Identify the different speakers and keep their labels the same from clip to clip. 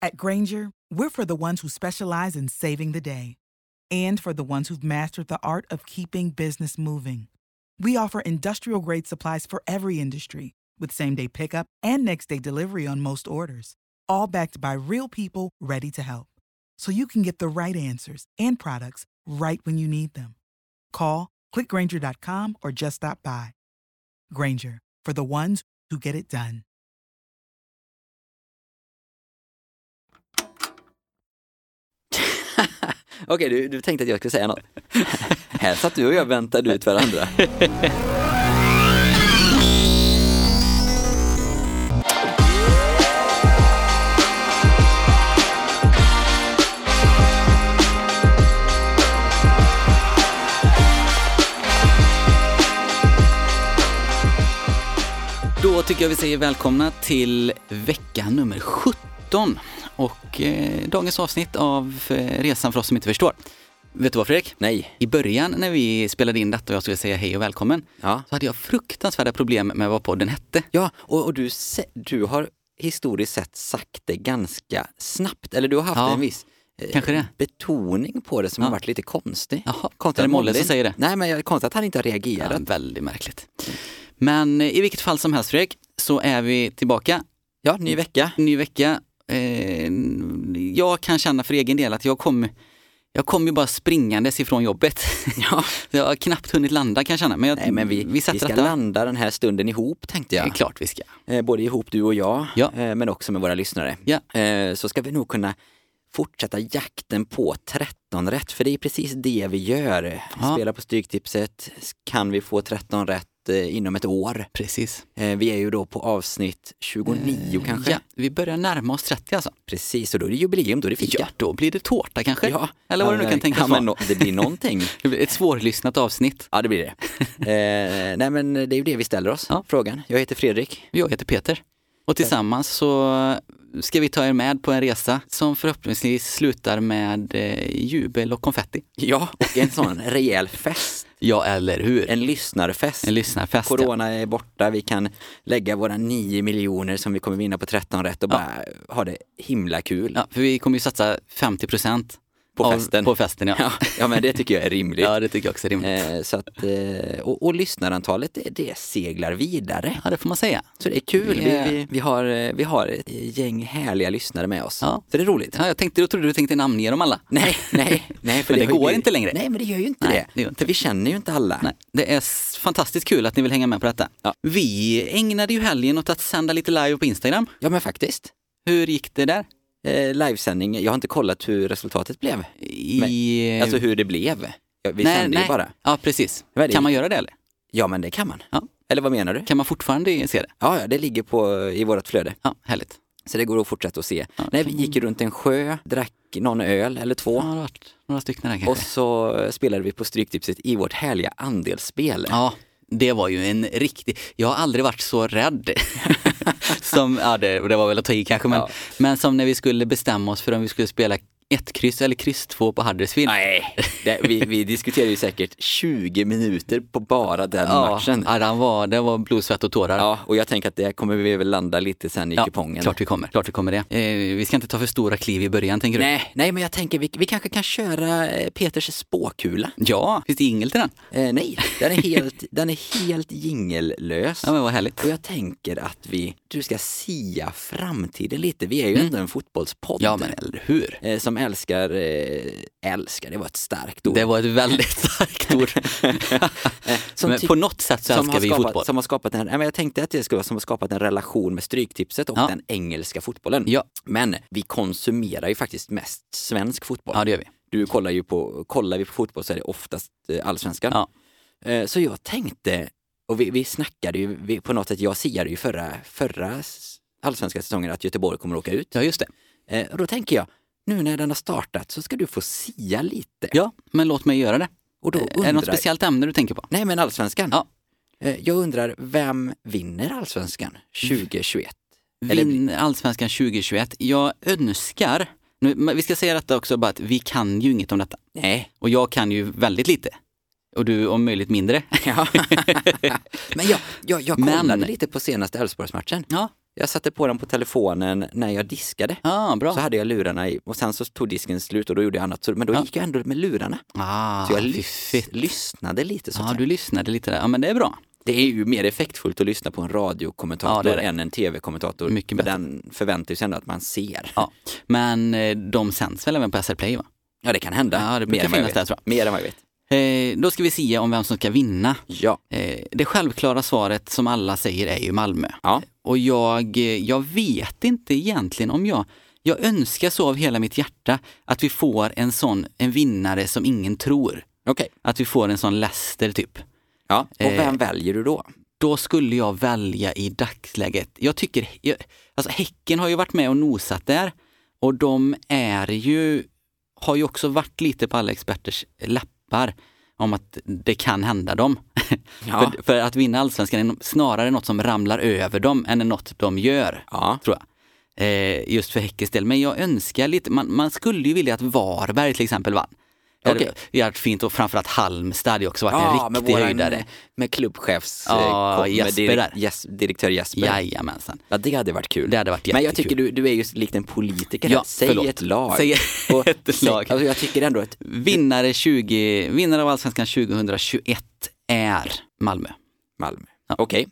Speaker 1: At Granger, we're for the ones who specialize in saving the day and for the ones who've mastered the art of keeping business moving. We offer industrial grade supplies for every industry with same day pickup and next day delivery on most orders, all backed by real people ready to help. So you can get the right answers and products right when you need them. Call clickgranger.com or just stop by. Granger for the ones who get it done.
Speaker 2: Okej, du, du tänkte att jag skulle säga något. Här satt du och jag väntade ut varandra. Då tycker jag vi säger välkomna till vecka nummer 17 och eh, dagens avsnitt av eh, Resan för oss som inte förstår. Vet du vad Fredrik?
Speaker 3: Nej.
Speaker 2: I början när vi spelade in detta och jag skulle säga hej och välkommen
Speaker 3: Ja.
Speaker 2: så hade jag fruktansvärda problem med vad podden hette.
Speaker 3: Ja, och, och du, se- du har historiskt sett sagt det ganska snabbt. Eller du har haft
Speaker 2: Ja,
Speaker 3: en viss eh,
Speaker 2: kanske det.
Speaker 3: betoning på det som
Speaker 2: Ja.
Speaker 3: har varit lite konstig.
Speaker 2: Jaha,
Speaker 3: Konstigt
Speaker 2: är det
Speaker 3: att
Speaker 2: Molle
Speaker 3: Molly-
Speaker 2: som säger det?
Speaker 3: Nej, men jag- konstigt att han inte har
Speaker 2: Ja,
Speaker 3: reagerat.
Speaker 2: väldigt märkligt. Men eh, i vilket fall som helst Fredrik, så är vi tillbaka.
Speaker 3: Ja, ny vecka.
Speaker 2: Ny vecka. Eh, jag kan känna för egen del att jag kom, jag kom ju bara springandes ifrån jobbet. Ja. jag har knappt hunnit landa kan jag känna. Men, jag,
Speaker 3: Nej, men vi, vi,
Speaker 2: sätter
Speaker 3: ska
Speaker 2: detta.
Speaker 3: landa den här stunden ihop tänkte
Speaker 2: Det är
Speaker 3: jag.
Speaker 2: klart vi ska.
Speaker 3: Eh, Både ihop du och jag,
Speaker 2: Ja.
Speaker 3: eh, men också med våra lyssnare.
Speaker 2: Ja.
Speaker 3: Eh, Så ska vi nog kunna fortsätta jakten på 13 rätt, för det är precis det vi gör.
Speaker 2: Ja.
Speaker 3: Spela på Stryktipset, kan vi få 13 rätt eh, inom ett år?
Speaker 2: Precis.
Speaker 3: Eh, Vi är ju då på avsnitt 29 kanske.
Speaker 2: Eh, Ja, vi börjar närma oss 30 alltså.
Speaker 3: Precis, och då är det jubileum, då är det fika.
Speaker 2: Ja, då blir det tårta kanske.
Speaker 3: Ja.
Speaker 2: Eller vad
Speaker 3: Ja,
Speaker 2: du nu
Speaker 3: men-
Speaker 2: kan tänka
Speaker 3: ja,
Speaker 2: vara.
Speaker 3: men nå- Det blir någonting.
Speaker 2: Det blir Ett svårlyssnat avsnitt.
Speaker 3: Ja, det blir det. Eh, nej, men det är ju det vi ställer oss,
Speaker 2: Ja.
Speaker 3: frågan. Jag heter Fredrik.
Speaker 2: Jag heter Peter. Och tillsammans så ska vi ta er med på en resa som förhoppningsvis slutar med eh, jubel och konfetti.
Speaker 3: Ja, och en sån rejäl fest.
Speaker 2: Ja, eller hur? En,
Speaker 3: En lyssnarfest.
Speaker 2: lyssnarfest. ja.
Speaker 3: Corona är borta, vi kan lägga våra 9 miljoner som vi kommer vinna på 13 rätt och bara ha det himla kul
Speaker 2: Ja, för vi kommer ju satsa 50 procent
Speaker 3: på festen.
Speaker 2: På festen ja.
Speaker 3: ja. ja, men det tycker jag är rimligt.
Speaker 2: Ja, det tycker jag också är rimligt.
Speaker 3: Eh, så att, eh, och, och lyssnarantalet, det, det seglar vidare.
Speaker 2: Ja, det får man säga.
Speaker 3: Så det är kul.
Speaker 2: Ja.
Speaker 3: Vi, vi, vi, har, eh, vi har ett gäng härliga lyssnare med oss.
Speaker 2: Ja.
Speaker 3: Så det är roligt.
Speaker 2: Ja, jag tänkte, jag trodde du tänkte namnge dem alla.
Speaker 3: Nej, nej, nej.
Speaker 2: Men det
Speaker 3: har ju
Speaker 2: går
Speaker 3: blivit-
Speaker 2: inte längre.
Speaker 3: Nej, men det gör ju inte
Speaker 2: Nej,
Speaker 3: det.
Speaker 2: det gör inte
Speaker 3: För vi känner ju inte alla.
Speaker 2: Nej, det är s- fantastiskt kul att ni vill hänga med på detta.
Speaker 3: Ja.
Speaker 2: Vi ägnade ju helgen åt att sända lite live på Instagram.
Speaker 3: Ja, men faktiskt.
Speaker 2: Hur gick det där?
Speaker 3: Eh, livesändning, jag har inte kollat hur resultatet blev.
Speaker 2: I...
Speaker 3: Alltså hur det blev. Ja, Vi
Speaker 2: Eh, nej,
Speaker 3: sände
Speaker 2: nej.
Speaker 3: ju bara.
Speaker 2: Ja, precis.
Speaker 3: Vad är det?
Speaker 2: Kan man göra det eller?
Speaker 3: Ja, men det kan man.
Speaker 2: Ja.
Speaker 3: Eller vad menar du?
Speaker 2: Kan man fortfarande se det?
Speaker 3: Ja, ja, det ligger på, i vårt flöde.
Speaker 2: Ja, härligt.
Speaker 3: Så det går att fortsätta att se.
Speaker 2: Ja,
Speaker 3: Nej,
Speaker 2: kan
Speaker 3: vi
Speaker 2: man-
Speaker 3: gick ju runt en sjö, drack någon öl eller två
Speaker 2: Ja, det har varit några stycken där
Speaker 3: och
Speaker 2: kanske.
Speaker 3: så eh, spelade vi på Stryktipset i vårt härliga andelsspel.
Speaker 2: Ja, det var ju en riktig... Jag har aldrig varit så rädd. som, ja, det, det var väl att ta i kanske, men,
Speaker 3: Ja.
Speaker 2: men som när vi skulle bestämma oss för om vi skulle spela ett kryss eller kryss två på Huddersfield.
Speaker 3: Nej, det, vi, vi diskuterade ju säkert 20 minuter på bara den
Speaker 2: ja,
Speaker 3: matchen.
Speaker 2: ja, den var, det var blod, svett och tårar.
Speaker 3: Ja, och jag tänker att det kommer vi väl landa lite sen i kupongen.
Speaker 2: klart vi kommer. Klart vi kommer det. Eh, vi ska inte ta för stora kliv i början, tänker du?
Speaker 3: Nej, nej, men jag tänker vi, vi kanske kan köra eh, Peters spåkula.
Speaker 2: Ja, finns det jingel till den?
Speaker 3: Eh, nej, den är helt, den är helt jingellös.
Speaker 2: Ja, men vad härligt.
Speaker 3: Och jag tänker att vi, du ska sia framtiden lite. Vi är ju ändå en fotbollspodd.
Speaker 2: Mm. Ja, men eller hur?
Speaker 3: eh, Som älskar, eh, älskar, det var ett starkt ord. Eh,
Speaker 2: Det var ett väldigt starkt ord.
Speaker 3: Som
Speaker 2: men
Speaker 3: ty-
Speaker 2: på något sätt så
Speaker 3: som har
Speaker 2: älskar vi
Speaker 3: skapat,
Speaker 2: fotboll.
Speaker 3: Som har skapat en, nej, men jag tänkte att det skulle vara som har skapat en relation med Stryktipset och
Speaker 2: Ja.
Speaker 3: den engelska fotbollen.
Speaker 2: Ja.
Speaker 3: Men vi konsumerar ju faktiskt mest svensk fotboll.
Speaker 2: Ja, det gör vi.
Speaker 3: Du kollar ju på, kollar vi på fotboll så är det oftast eh, allsvenskan.
Speaker 2: Ja.
Speaker 3: Eh, Så jag tänkte, och vi, vi snackade ju vi, på något sätt, jag siade ju förra, förra s- allsvenska säsongen att Göteborg kommer att åka ut.
Speaker 2: Ja, just det.
Speaker 3: Eh, och då tänker jag, nu när den har startat så ska du få sia lite.
Speaker 2: Ja, men låt mig göra det.
Speaker 3: Och då
Speaker 2: Är det
Speaker 3: undrar,
Speaker 2: något speciellt ämne du tänker på?
Speaker 3: Nej men allsvenskan.
Speaker 2: Ja.
Speaker 3: Eh, jag undrar, vem vinner allsvenskan 2021? Eller-
Speaker 2: Vinn Allsvenskan 2021. Jag önskar, nu, men vi ska säga detta också bara att vi kan ju inget om detta.
Speaker 3: Nej,
Speaker 2: Och jag kan ju väldigt lite. Och du om möjligt mindre.
Speaker 3: Ja. men jag, jag, jag
Speaker 2: Men-
Speaker 3: kollade lite på senaste Elfsborgsmatchen.
Speaker 2: Ja,
Speaker 3: Jag satte på den på telefonen när jag diskade.
Speaker 2: ah, bra.
Speaker 3: Så hade jag lurarna i och sen så tog disken slut och då gjorde jag annat. Så, men då
Speaker 2: Ja.
Speaker 3: gick jag ändå med lurarna.
Speaker 2: ah,
Speaker 3: Så jag lys-
Speaker 2: fiffigt.
Speaker 3: lyssnade lite så att
Speaker 2: Ja,
Speaker 3: säga.
Speaker 2: du lyssnade lite där. Ja, men det är bra.
Speaker 3: Det är ju mer effektfullt att lyssna på en radiokommentator
Speaker 2: Ja, det är det.
Speaker 3: än en tv-kommentator.
Speaker 2: Mycket
Speaker 3: För
Speaker 2: bättre.
Speaker 3: den förväntar ju sig ändå att man ser.
Speaker 2: Ja. Men eh, de sänds väl även på SR Play va?
Speaker 3: Ja, det kan hända.
Speaker 2: Ja, det brukar
Speaker 3: mer än vad jag
Speaker 2: finnas där,
Speaker 3: vet.
Speaker 2: tror
Speaker 3: Mer än vad jag vet.
Speaker 2: Eh, då ska vi se om vem som ska vinna.
Speaker 3: Ja.
Speaker 2: Eh, det självklara svaret som alla säger är ju Malmö.
Speaker 3: Ja.
Speaker 2: Och jag, eh, jag vet inte egentligen om jag, jag önskar så av hela mitt hjärta att vi får en sån, en vinnare som ingen tror.
Speaker 3: Okej.
Speaker 2: Att vi får en sån Leicester typ.
Speaker 3: Ja. Och
Speaker 2: Eh.
Speaker 3: vem väljer du då?
Speaker 2: Då skulle jag välja i dagsläget. Jag tycker, jag, alltså Häcken har ju varit med och nosat där och de är ju, har ju också varit lite på alla experters läppar om att det kan hända dem.
Speaker 3: Ja.
Speaker 2: För, för att vinna allsvenskan är no- snarare något som ramlar över dem än något de gör,
Speaker 3: Ja.
Speaker 2: tror jag. Eh, just för Häckens del. Men jag önskar lite, man, man skulle ju vilja att Varberg till exempel vann. Det hade-
Speaker 3: Okej.
Speaker 2: Det hade varit fint och framförallt Halmstad hade ju också varit en
Speaker 3: med
Speaker 2: riktig
Speaker 3: våran-
Speaker 2: höjdare.
Speaker 3: Med klubbchefs...
Speaker 2: Ja,
Speaker 3: eh, kom- med
Speaker 2: Jesper
Speaker 3: direk-
Speaker 2: där.
Speaker 3: Jes, direktör Jesper.
Speaker 2: Jajamensan.
Speaker 3: Ja, det hade varit kul.
Speaker 2: Det hade varit
Speaker 3: Men jag
Speaker 2: jättekul.
Speaker 3: tycker du, du är ju likt en politiker.
Speaker 2: Ja,
Speaker 3: Säg
Speaker 2: förlåt.
Speaker 3: ett lag.
Speaker 2: Säg ett
Speaker 3: säg-
Speaker 2: lag.
Speaker 3: Alltså, jag tycker ändå att
Speaker 2: Vinnare, 20, vinnare av allsvenskan 2021 är Malmö.
Speaker 3: Malmö. Okej.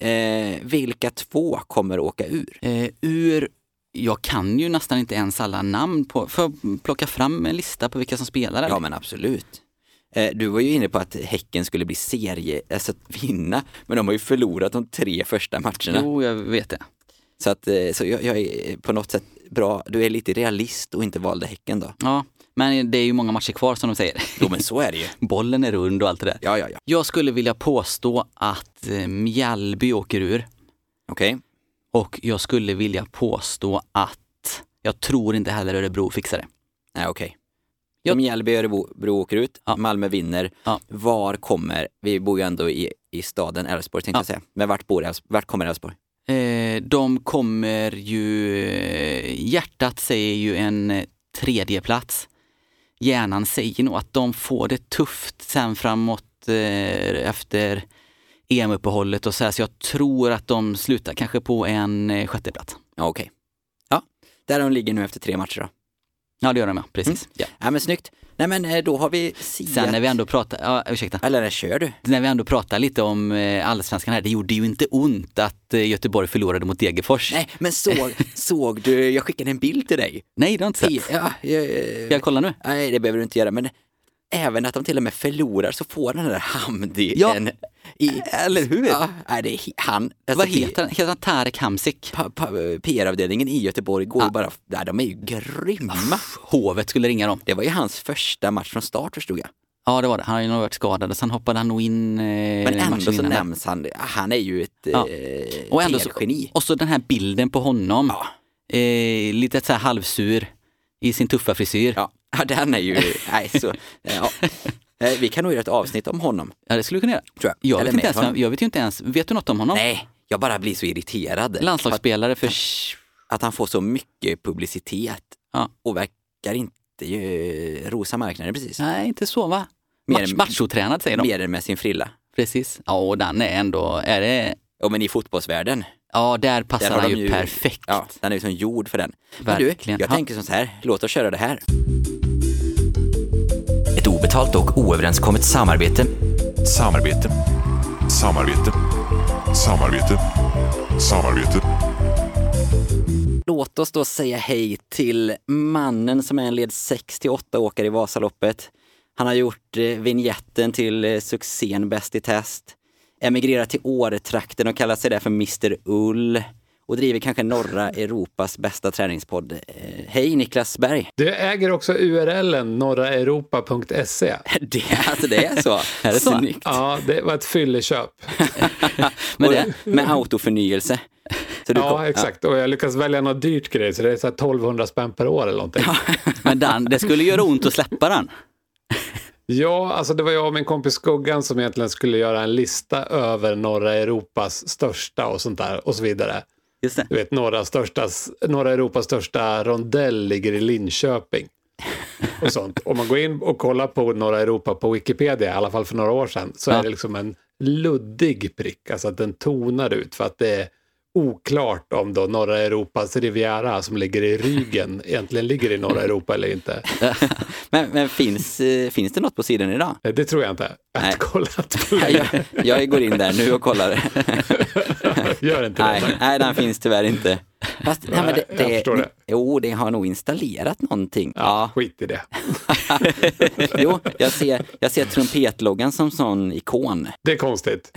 Speaker 3: Eh, vilka två kommer åka ur?
Speaker 2: Eh, ur, jag kan ju nästan inte ens alla namn på, får jag plocka fram en lista på vilka som spelar? eller?
Speaker 3: Ja, men absolut. Eh, du var ju inne på att Häcken skulle bli serie, alltså att vinna, men de har ju förlorat de tre första matcherna.
Speaker 2: Jo, jag vet det.
Speaker 3: Så, att, eh, så jag, jag är på något sätt bra, du är lite realist och inte valde Häcken då.
Speaker 2: Ja, men det är ju många matcher kvar som de säger.
Speaker 3: Jo, men så är det ju.
Speaker 2: Bollen är rund och allt det där.
Speaker 3: Ja, ja, ja.
Speaker 2: Jag skulle vilja påstå att eh, Mjällby åker ur
Speaker 3: Okej.
Speaker 2: och jag skulle vilja påstå att jag tror inte heller Örebro fixar det.
Speaker 3: Nej, okej.
Speaker 2: Jag-
Speaker 3: Mjällby och Örebro Bro åker ut,
Speaker 2: Ja.
Speaker 3: Malmö vinner.
Speaker 2: Ja.
Speaker 3: Var kommer, vi bor ju ändå i, i staden Elfsborg tänkte
Speaker 2: Ja.
Speaker 3: jag säga, men vart, bor Älvs- vart kommer Elfsborg?
Speaker 2: Eh, de kommer ju... eh, Hjärtat säger ju en eh, tredje plats. Hjärnan säger nog att de får det tufft sen framåt eh, efter EM-uppehållet och så här, så jag tror att de slutar kanske på en eh, sjätte plats.
Speaker 3: Ja, okej. Ja, där de ligger nu efter tre matcher då.
Speaker 2: Ja, det gör de ja, precis.
Speaker 3: Mm. Ja, men snyggt. Nej men eh, då har vi siat.
Speaker 2: Sen när vi ändå pratar, ja, ursäkta,
Speaker 3: Eller nej, kör du.
Speaker 2: när vi ändå pratar lite om eh, allsvenskan här, det gjorde ju inte ont att eh, Göteborg förlorade mot Degerfors.
Speaker 3: Nej, men såg, såg du, jag skickade en bild till dig.
Speaker 2: Nej, det har jag inte sett.
Speaker 3: I- Ja, jag,
Speaker 2: Ska jag kolla nu?
Speaker 3: nej, det behöver du inte göra, men även att de till och med förlorar så får den där Hamdi
Speaker 2: Ja.
Speaker 3: en... I,
Speaker 2: Eller hur?
Speaker 3: Ja, nej, det är he- han.
Speaker 2: Vad
Speaker 3: Alltså,
Speaker 2: heter han? Heter han Tarek Hamsik?
Speaker 3: pa- pa- PR-avdelningen i Göteborg går ju bara, nej, de är ju
Speaker 2: Ah,
Speaker 3: grymma.
Speaker 2: Hovet skulle ringa dem.
Speaker 3: Det var ju hans första match från start förstod jag.
Speaker 2: Ja det var det, han har ju nog varit skadad och sen hoppade han nog in eh,
Speaker 3: Men
Speaker 2: matchen
Speaker 3: ändå så
Speaker 2: innan där.
Speaker 3: nämns han, Ah, han är ju ett
Speaker 2: Ja.
Speaker 3: eh,
Speaker 2: och, ändå så,
Speaker 3: PR-geni.
Speaker 2: och så den här bilden på honom, eh, lite så här halvsur i sin tuffa frisyr. Ja.
Speaker 3: Ja. ja, den är ju, nej så, ja. Eh, Vi kan nog göra ett avsnitt om honom,
Speaker 2: det skulle du kunna göra.
Speaker 3: tror jag.
Speaker 2: Jag
Speaker 3: Eller
Speaker 2: vet, inte
Speaker 3: med
Speaker 2: ens, vem-
Speaker 3: honom.
Speaker 2: jag vet ju inte ens, vet du något om honom?
Speaker 3: Nej, jag bara blir så irriterad. Att,
Speaker 2: Landslagsspelare för... Sch-
Speaker 3: att han får så mycket publicitet
Speaker 2: Ja.
Speaker 3: och verkar inte ju rosa marknaden precis.
Speaker 2: Nej, inte så va?
Speaker 3: Mer-
Speaker 2: Match, machotränad säger de.
Speaker 3: Mer än med sin frilla.
Speaker 2: Precis. Ja, och den är ändå, är det,
Speaker 3: Ja, men i fotbollsvärlden,
Speaker 2: ja där passar
Speaker 3: Där har
Speaker 2: han
Speaker 3: de
Speaker 2: ju,
Speaker 3: Alltså, ju-
Speaker 2: perfekt.
Speaker 3: ja, den är ju som jord för den. Men du,
Speaker 2: Verkligen.
Speaker 3: jag
Speaker 2: Ja.
Speaker 3: tänker som så här, låt oss köra det här. Ett obetalt och oöverenskommet samarbete.
Speaker 4: Samarbete. Samarbete. Samarbete. Samarbete.
Speaker 3: Låt oss då säga hej till mannen som är en led 68 åkare i Vasaloppet. Han har gjort eh, vignetten till eh, succén Bäst i test. Emigrerat till Åretrakten och kallar sig där för Mr Ull. Och driver kanske norra Europas bästa träningspodd. Eh, hej Niklas Berg!
Speaker 5: Du äger också URLen norraeuropa.se.
Speaker 3: Det, alltså det är så?
Speaker 2: Är det så?
Speaker 3: Snyggt!
Speaker 5: Ja, det var ett fylleköp.
Speaker 3: Men det, med autoförnyelse. Så Så du kom-
Speaker 5: Ja, exakt. Och jag lyckas välja något dyrt grej, så det är så här 1200 spänn per år eller någonting. Ja.
Speaker 2: Men den, det skulle göra ont att släppa den.
Speaker 5: alltså det var jag och min kompis Skuggan som egentligen skulle göra en lista över norra Europas största och sånt där och så vidare.
Speaker 2: Just det.
Speaker 5: Du vet, norra, största, norra Europas största rondell ligger i Linköping. Och sånt. Om man går in och kollar på norra Europa på Wikipedia, i alla fall för några år sedan, så
Speaker 2: Ja.
Speaker 5: är det liksom en luddig prick, alltså att den tonar ut för att det är oklart om då norra Europas riviera som ligger i ryggen egentligen ligger i norra Europa eller inte.
Speaker 3: Men, men finns, eh, finns det något på sidan idag?
Speaker 5: Eh, Det tror jag inte. Jag har inte kollat på
Speaker 3: Nej,
Speaker 5: det.
Speaker 3: Jag, jag går in där nu och kollar.
Speaker 5: Gör inte det.
Speaker 3: Nej, nej den finns tyvärr inte. Fast, nej, men det,
Speaker 5: Nej, jag förstår det.
Speaker 3: Jo, det har nog installerat någonting. Ja,
Speaker 5: Skit i det.
Speaker 3: jo, jag ser, jag ser trumpetloggan som sån ikon.
Speaker 5: Det är konstigt.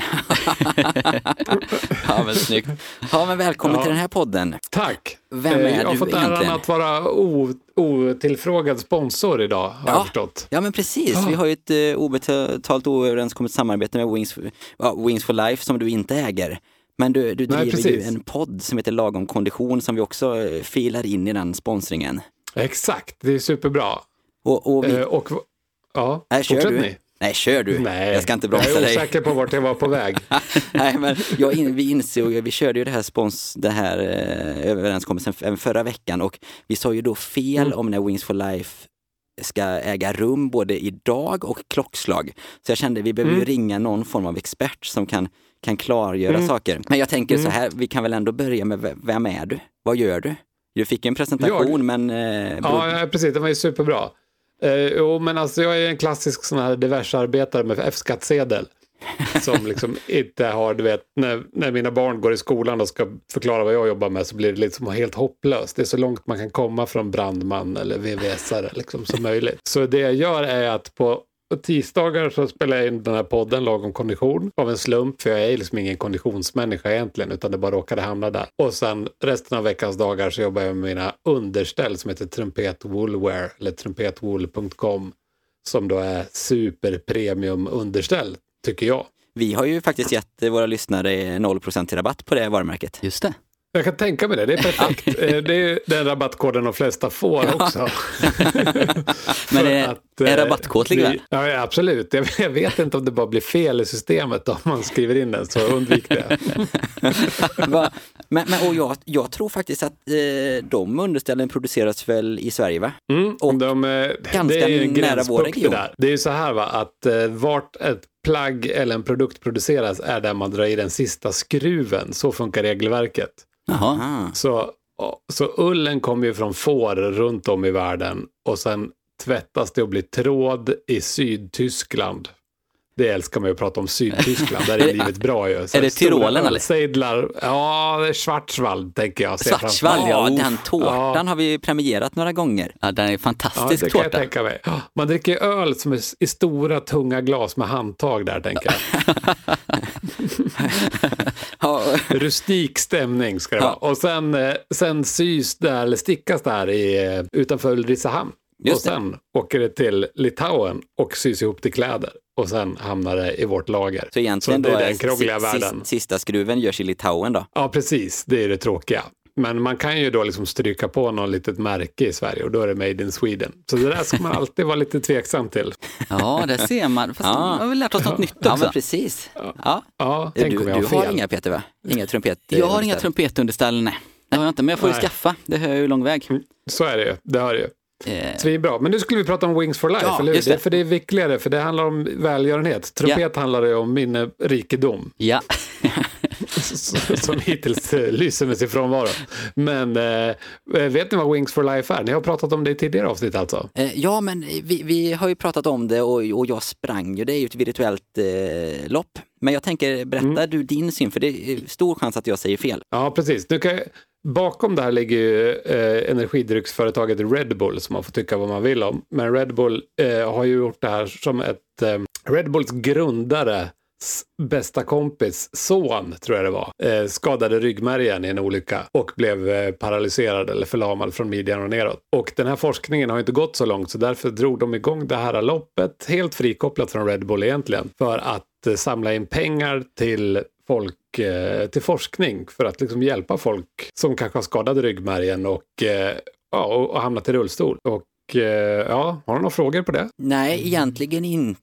Speaker 3: Ja, men snyggt. Ja, men välkommen till den här podden.
Speaker 5: Tack!
Speaker 3: Vem är
Speaker 5: Eh, jag har
Speaker 3: du
Speaker 5: fått äran
Speaker 3: egentligen?
Speaker 5: att vara o- otillfrågad sponsor idag, har jag förstått.
Speaker 3: Ja, men precis. Vi har ju ett eh, obetalt oöverenskommet samarbete med Wings, ja, Wings for Life som du inte äger. Men du, du
Speaker 5: Nej,
Speaker 3: driver ju
Speaker 5: precis.
Speaker 3: en podd som heter Lagom kondition som vi också eh, filar in i den sponsringen.
Speaker 5: Exakt, det är superbra.
Speaker 3: Och, och vi...
Speaker 5: Eh, och, ja,
Speaker 3: Nej, kör
Speaker 5: fortsätt
Speaker 3: du.
Speaker 5: ni.
Speaker 3: Nej, kör du.
Speaker 5: Nej,
Speaker 3: Jag ska inte bromsa
Speaker 5: jag är
Speaker 3: dig.
Speaker 5: osäker på vart jag var på väg.
Speaker 3: Nej, men jag in, vi insåg, vi körde ju det här, spons, det här eh, överenskommelsen även förra veckan och vi sa ju då fel
Speaker 5: Mm.
Speaker 3: om när Wings for Life ska äga rum både idag och klockslag. Så jag kände vi
Speaker 5: Mm.
Speaker 3: behöver ju ringa någon form av expert som kan, kan klargöra saker. Men jag tänker
Speaker 5: Mm.
Speaker 3: så här, vi kan väl ändå börja med v- vem är du? Vad gör du? Du fick ju en presentation
Speaker 5: Jag?
Speaker 3: men... Eh,
Speaker 5: Ja,
Speaker 3: bro,
Speaker 5: ja, precis, det var ju superbra. Eh, jo, men alltså jag är en klassisk sån här diversarbetare med F-skattsedel. Som liksom inte har, du vet, när, när mina barn går i skolan och ska förklara vad jag jobbar med så blir det liksom helt hopplöst. Det är så långt man kan komma från brandman eller VVS-are liksom, som möjligt. Så det jag gör är att på tisdagar så spelar jag in den här podden Lagom kondition av en slump, för jag är liksom ingen konditionsmänniska egentligen, utan det bara råkade hamna där. Och sen resten av veckans dagar så jobbar jag med mina underställ som heter Trumpet Woolwear, eller trumpetwool.com, som då är superpremium underställ, tycker jag.
Speaker 3: vi har ju faktiskt gett eh, våra lyssnare 0% i rabatt på det varumärket.
Speaker 2: Just det.
Speaker 5: Jag kan tänka mig det, det är perfekt. Eh, det är den rabattkoden de flesta får också.
Speaker 2: Men
Speaker 5: För
Speaker 2: är-
Speaker 5: att,
Speaker 2: är
Speaker 5: eh,
Speaker 2: rabattkod ligger
Speaker 5: vi- Ja, ja, absolut. Jag, jag vet inte om det bara blir fel i systemet om man skriver in den, så undvik det.
Speaker 3: Va? Men, men och jag, jag tror faktiskt att eh, de underställen produceras väl i Sverige va?
Speaker 5: Mm,
Speaker 3: Och
Speaker 5: de, eh,
Speaker 3: ganska
Speaker 5: det är
Speaker 3: nära
Speaker 5: ju
Speaker 3: vår
Speaker 5: gränspunkter
Speaker 3: region.
Speaker 5: Där. Det är ju så här va, att eh, vart ett plagg eller en produkt produceras är där man drar i den sista skruven. Så funkar regelverket.
Speaker 2: Jaha.
Speaker 3: Ah.
Speaker 5: Så, så ullen kommer ju från får runt om i världen och sen tvättas det och blir tråd i Sydtyskland. Det älskar man ju att prata om Sydtyskland, där är livet bra ju. Så
Speaker 2: är det
Speaker 5: stora
Speaker 2: Tyrolen, eller?
Speaker 5: ölsejdlar. Ja, det är Schwarzwald tänker jag. se framför mig.
Speaker 2: Schwarzwald, ja,
Speaker 3: Ja,
Speaker 2: uff.
Speaker 3: den tårtan har vi ju premierat några gånger.
Speaker 2: Ja, den är
Speaker 5: Ja,
Speaker 2: Oh, fantastisk
Speaker 5: det kan jag
Speaker 2: tårta.
Speaker 5: tänka mig. Man dricker ju öl som är s- i stora tunga glas med handtag där, tänker jag.
Speaker 3: Ja,
Speaker 5: Rustik stämning ska det vara. Och sen, eh, sen sys där, eller stickas där i, eh, utanför Ulricehamn.
Speaker 3: Just
Speaker 5: och sen åker det till Litauen och sys ihop till kläder. Och sen hamnar det i vårt lager.
Speaker 3: så egentligen
Speaker 5: det
Speaker 3: då
Speaker 5: är
Speaker 3: är
Speaker 5: den krångliga
Speaker 3: si-
Speaker 5: världen.
Speaker 3: sis- sista skruven görs i Litauen då.
Speaker 5: Ja, precis. Det är det tråkiga. Men man kan ju då liksom stryka på något litet märke i Sverige och då är det made in Sweden. Så det där ska man alltid vara lite tveksam till.
Speaker 2: Ja, det ser man. Fast
Speaker 3: Ja.
Speaker 2: vi har väl lärt oss något nytt
Speaker 3: Ja,
Speaker 2: också.
Speaker 3: men precis.
Speaker 2: Ja.
Speaker 5: Ja,
Speaker 3: Du,
Speaker 5: tänk om
Speaker 3: du
Speaker 5: jag har
Speaker 3: har
Speaker 5: fel.
Speaker 3: inga Peter va? Inga trumpet?
Speaker 2: Jag har inga trumpetunderställ, nej. Det har jag inte, men jag får ju
Speaker 5: Nej.
Speaker 2: skaffa. Det hör jag ju lång väg.
Speaker 5: Så är det ju. Det har det ju.
Speaker 2: Eh,
Speaker 5: Svinbra. Men nu skulle vi prata om Wings for Life,
Speaker 2: Ja,
Speaker 5: eller hur?
Speaker 2: just
Speaker 5: Det.
Speaker 2: det.
Speaker 5: är För det är viktigare, för det handlar om välgörenhet. Trumpet handlar ju om min eh, rikedom,
Speaker 2: ja.
Speaker 5: s- som hittills eh, lyser med sin frånvaro. Men eh, vet ni vad Wings for Life är? Ni har pratat om det i tidigare avsnitt alltså?
Speaker 3: Eh, Ja, men vi, vi har ju pratat om det och, och jag sprang ju. Det är ju ett virtuellt eh, lopp. Men jag tänker, berätta
Speaker 5: Mm.
Speaker 3: du din syn, för det är stor chans att jag säger fel.
Speaker 5: Ja, precis. Nu kan jag... Bakom det här ligger ju eh, energidrycksföretaget Red Bull som man får tycka vad man vill om. Men Red Bull eh, har ju gjort det här som ett... Eh, Red Bulls grundare s- bästa kompis son, tror jag det var, eh, skadade ryggmärgen i en olycka och blev eh, paralyserad eller förlamad från midjan och neråt. Och den här forskningen har ju inte gått så långt så därför drog de igång det här loppet helt frikopplat från Red Bull egentligen för att eh, samla in pengar till folk och eh, till forskning för att liksom hjälpa folk som kanske har skadade ryggmärgen och, eh, ja, och, och hamnat i rullstol. Och eh, ja, har du några frågor på det?
Speaker 3: Nej, egentligen inte.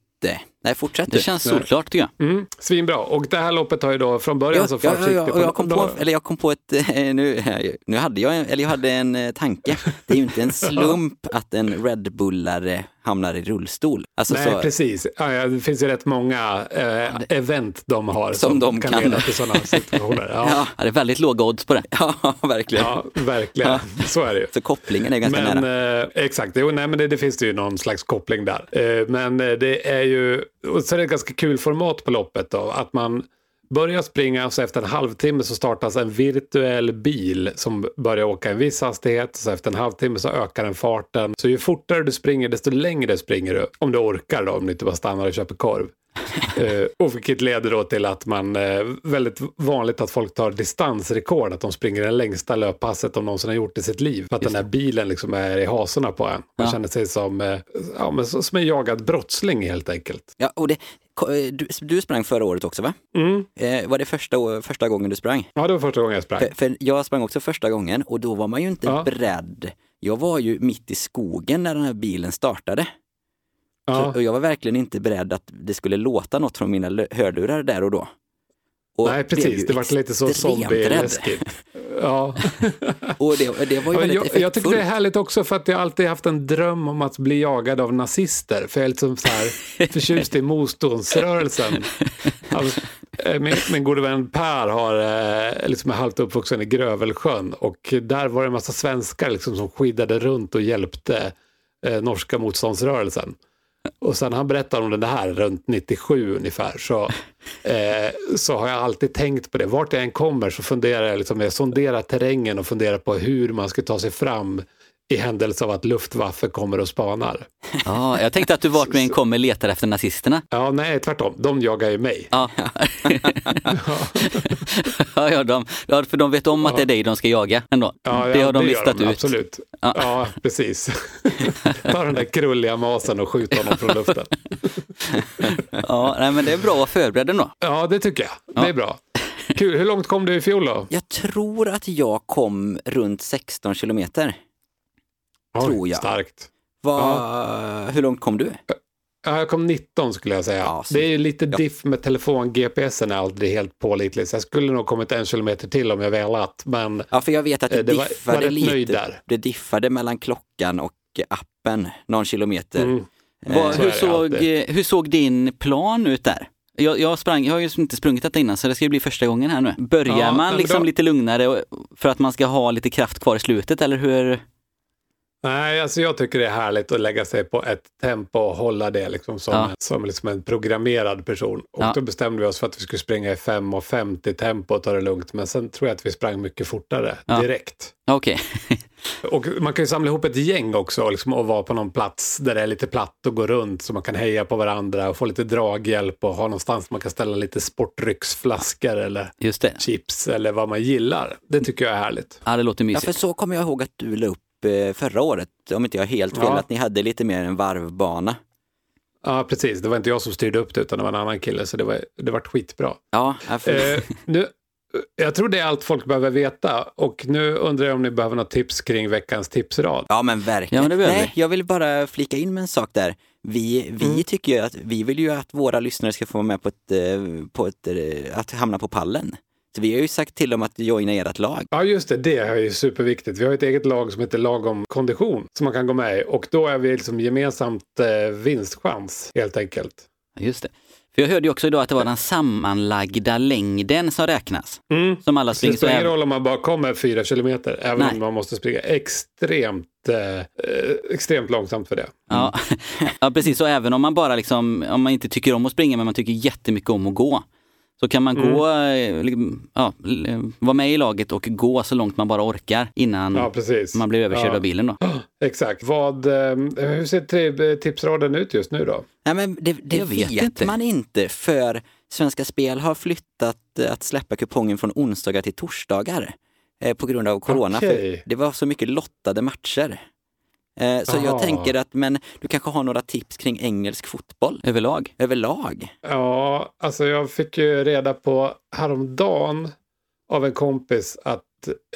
Speaker 3: Nej, fortsätt
Speaker 2: Det
Speaker 3: du.
Speaker 2: känns solklart tycker jag.
Speaker 5: Mm, svinbra. Och det här loppet har ju då från början
Speaker 3: Ja,
Speaker 5: så
Speaker 3: ja, ja,
Speaker 5: försiktigt.
Speaker 3: ja, och jag, kom på, eller jag kom på ett, eh, nu, nu hade jag, en- eller jag hade en eh, tanke. Det är ju inte en slump att en Red Bullare hamnar i rullstol. Alltså,
Speaker 5: Nej,
Speaker 3: så,
Speaker 5: precis. Ja, ja, det finns ju rätt många eh, event de har
Speaker 3: Som de kan-
Speaker 5: leda till sådana situationer. Ja, ja.
Speaker 3: ja,
Speaker 2: Ja, det är väldigt låga odds på det.
Speaker 3: ja, verkligen.
Speaker 5: verkligen. Så är det ju.
Speaker 3: Så kopplingen är ganska
Speaker 5: men,
Speaker 3: nära.
Speaker 5: Eh, exakt, jo, nej, men det, det finns det ju någon slags koppling där. Eh, men eh, det är ju, och så är det ett ganska kul format på loppet då, att man börjar springa och så efter en halvtimme så startas en virtuell bil som börjar åka en viss hastighet. Så efter en halvtimme så ökar den farten. Så ju fortare du springer desto längre springer du. Om du orkar då, om du inte bara stannar och köper korv. Eh, och vilket leder då till att man, eh, väldigt vanligt att folk tar distansrekord, att de springer det längsta löppasset de någonsin har gjort i sitt liv. För att den här bilen liksom är i hasorna på en. Man
Speaker 3: Ja.
Speaker 5: känner sig som, eh, ja, men så- som en jagad brottsling helt enkelt.
Speaker 3: Ja, och det, ko- eh, du, du sprang förra året också va?
Speaker 5: Mm.
Speaker 3: Eh, var det första, å- första gången du sprang?
Speaker 5: Ja, det var första gången jag sprang.
Speaker 3: För, för jag sprang också första gången och då var man ju inte
Speaker 5: Ja.
Speaker 3: beredd. Jag var ju mitt i skogen när den här bilen startade.
Speaker 5: Ja.
Speaker 3: Så, och jag var verkligen inte beredd att det skulle låta något från mina lö- hörlurar där och då. Och
Speaker 5: Nej,
Speaker 3: blev
Speaker 5: precis.
Speaker 3: ju
Speaker 5: Det var lite så
Speaker 3: extremt
Speaker 5: zombie-läskigt. Ja.
Speaker 3: rädd. Och det, det var ju
Speaker 5: Ja,
Speaker 3: väldigt
Speaker 5: jag, jag tycker
Speaker 3: effektfullt.
Speaker 5: det är härligt också för att jag alltid haft en dröm om att bli jagad av nazister. För jag är liksom så här förtjust i motståndsrörelsen. Alltså, eh, min, min gode vän Per har, eh, liksom är halvt uppvuxen i Grövelsjön och där var det en massa svenskar liksom som skidade runt och hjälpte eh, norska motståndsrörelsen. Och sen han berättade om det här runt 97 ungefär så, eh, så har jag alltid tänkt på det. Vart jag än kommer så funderar jag, liksom, jag sonderar terrängen och funderar på hur man ska ta sig fram i händelse av att Luftwaffe kommer och spanar.
Speaker 2: Ja, jag tänkte att du vart med en kommer letar efter nazisterna.
Speaker 5: Ja, nej, tvärtom. De jagar ju mig.
Speaker 2: Ja, ja, ja, de, ja för de vet om att det är dig de ska jaga ändå.
Speaker 5: Ja,
Speaker 2: det
Speaker 5: ja,
Speaker 2: har de
Speaker 5: gör
Speaker 2: listat ut.
Speaker 5: Absolut.
Speaker 2: Ja.
Speaker 5: Ja, precis. ta den där krulliga masen och skjut honom från luften.
Speaker 2: Ja, nej, men det är bra att vara förberedd ändå.
Speaker 5: Ja, det tycker jag. Det är bra. Kul. Hur långt kom du i fjol då?
Speaker 3: Jag tror att jag kom runt 16 kilometer. Tror jag.
Speaker 5: Starkt.
Speaker 3: Vad- Hur långt kom du?
Speaker 5: Ja, jag kom 19 skulle jag säga.
Speaker 3: Ja, så-
Speaker 5: det är ju lite diff med telefon. GPSen är aldrig helt pålitlig. Så jag skulle nog kommit en kilometer till om jag velat. Men
Speaker 3: Ja, för jag vet att det,
Speaker 5: Eh, det var-
Speaker 3: diffade
Speaker 5: var rätt
Speaker 3: lite.
Speaker 5: nöjd där.
Speaker 3: Det diffade mellan klockan och appen, någon kilometer. Eh,
Speaker 5: mm,
Speaker 2: Vad-
Speaker 5: så
Speaker 2: hur,
Speaker 5: är det
Speaker 2: såg,
Speaker 5: alltid.
Speaker 2: eh, hur såg din plan ut där? Jag, jag, sprang, jag har ju inte sprungit detta innan så det ska ju bli första gången här nu. Börjar
Speaker 5: Ja, nej,
Speaker 2: man
Speaker 5: men
Speaker 2: liksom
Speaker 5: då-
Speaker 2: lite lugnare och- för att man ska ha lite kraft kvar i slutet eller hur?
Speaker 5: nej, alltså jag tycker det är härligt att lägga sig på ett tempo och hålla det liksom som,
Speaker 2: Ja.
Speaker 5: som liksom en programmerad person. Och
Speaker 2: Ja.
Speaker 5: då bestämde vi oss för att vi skulle springa i 5.50 tempo och ta det lugnt. Men sen tror jag att vi sprang mycket fortare
Speaker 2: Ja.
Speaker 5: direkt.
Speaker 2: Ja, Okej,
Speaker 5: Och man kan ju samla ihop ett gäng också och liksom, och vara på någon plats där det är lite platt och gå runt så man kan heja på varandra och få lite draghjälp och ha någonstans man kan ställa lite sportrycksflaskor eller
Speaker 2: just det.
Speaker 5: chips eller vad man gillar. Det tycker jag är härligt.
Speaker 2: Ja, det låter
Speaker 3: Ja,
Speaker 2: mysigt.
Speaker 3: för så kommer jag ihåg att du la upp eh, förra året, om inte jag har helt fel,
Speaker 5: Ja.
Speaker 3: att ni hade lite mer en varvbana.
Speaker 5: Ja, precis. Det var inte jag som styrde upp det utan det var en annan kille så det var, det var skitbra.
Speaker 3: Ja, ja, för...
Speaker 5: Eh, nu, jag tror det är allt folk behöver veta och nu undrar jag om ni behöver något tips kring veckans tipsrad.
Speaker 3: ja men verkligen.
Speaker 2: Ja, men det behöver
Speaker 3: Nej, jag vill bara flika in med en sak där. Vi, vi
Speaker 2: Mm.
Speaker 3: tycker ju att, vi vill ju att våra lyssnare ska få vara med på ett, eh, på ett eh, att hamna på pallen. Så vi har ju sagt till dem att joina ert lag.
Speaker 5: Ja, just det. Det är ju superviktigt. Vi har ett eget lag som heter Lagom Kondition som man kan gå med i och då är vi liksom gemensamt eh, vinstchans helt enkelt.
Speaker 2: Just det. För jag hörde ju också idag att det var den sammanlagda längden som räknas.
Speaker 5: Mm.
Speaker 2: Som alla
Speaker 5: Det
Speaker 2: springer. Så
Speaker 5: spelar ingen
Speaker 2: även,
Speaker 5: roll om man bara kommer fyra kilometer, även
Speaker 2: Alltså, Nej.
Speaker 5: om man måste springa extremt, eh, eh, extremt långsamt för det.
Speaker 2: ja, ja, precis. Så även om man bara liksom, om man inte tycker om att springa men man tycker jättemycket om att gå. Så kan man gå, eh, liksom, ja, l- eh, vara med i laget och gå så långt man bara orkar innan
Speaker 5: Ja, precis.
Speaker 2: man blir överkörd
Speaker 5: ja.
Speaker 2: av bilen då.
Speaker 5: Exakt. Vad, eh, hur ser tri- tipsraden ut just nu då?
Speaker 3: Nej, men det, det
Speaker 2: Jag vet
Speaker 3: vet,
Speaker 2: inte.
Speaker 3: man inte för Svenska Spel har flyttat eh, att släppa kupongen från onsdagar till torsdagar eh, på grund av corona.
Speaker 5: Okej.
Speaker 3: För det var så mycket lottade matcher. Eh, så
Speaker 5: Aha.
Speaker 3: jag tänker att, men du kanske har några tips kring engelsk fotboll
Speaker 2: överlag.
Speaker 3: överlag?
Speaker 5: Ja, alltså jag fick ju reda på häromdagen av en kompis att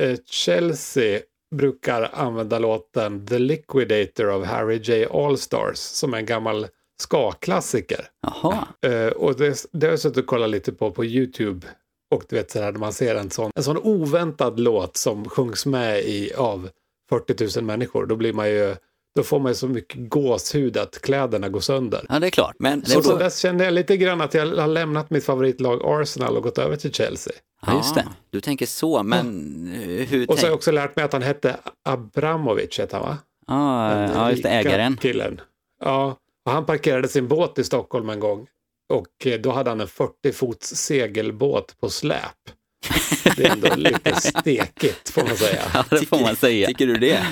Speaker 5: eh, Chelsea brukar använda låten The Liquidator av Harry J. Allstars som en gammal ska-klassiker.
Speaker 2: Jaha,
Speaker 5: Eh, och det, det har jag suttit och kollat lite på på YouTube. Och du vet så här när man ser en sån, en sån oväntad låt som sjungs med i av 40 000 människor, då blir man ju, då får man ju så mycket gåshud att kläderna går sönder.
Speaker 2: ja det är klart.
Speaker 3: Men,
Speaker 2: Det är
Speaker 5: Så
Speaker 3: och
Speaker 2: så-
Speaker 5: sen dess kände jag lite grann att jag har lämnat mitt favoritlag Arsenal och gått över till Chelsea.
Speaker 2: Ja, just det.
Speaker 3: Du tänker så, men eh, hur
Speaker 5: Och så har jag
Speaker 3: tänk-
Speaker 5: också lärt mig att han hette Abramovic, hette han va?
Speaker 2: Ja,
Speaker 5: Den
Speaker 2: ja just det,
Speaker 5: rika
Speaker 2: ägaren.
Speaker 5: Killen. Ja, och han parkerade sin båt i Stockholm en gång. Och eh, då hade han en 40 fots segelbåt på släp. Det är ändå lite stekigt får man säga.
Speaker 2: Ja, det får man säga.
Speaker 3: Tycker du det?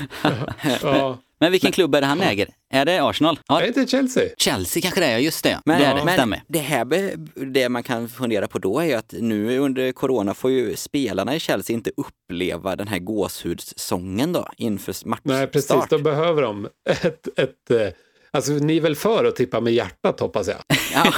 Speaker 5: Ja.
Speaker 2: Men vilken klubb är det han äger? Är det Arsenal? Ja,
Speaker 5: Är inte Chelsea?
Speaker 2: Chelsea kanske det är, ja, just det.
Speaker 3: Men,
Speaker 2: det är det,
Speaker 3: men
Speaker 2: stämmer.
Speaker 3: det här be, det man kan fundera på då är ju att nu under corona får ju spelarna i Chelsea inte uppleva den här gåshudssången då inför matchstart.
Speaker 5: Nej, precis. Då behöver de ett... ett eh, alltså, ni är väl för att tippa med hjärtat hoppas jag?
Speaker 3: Ja.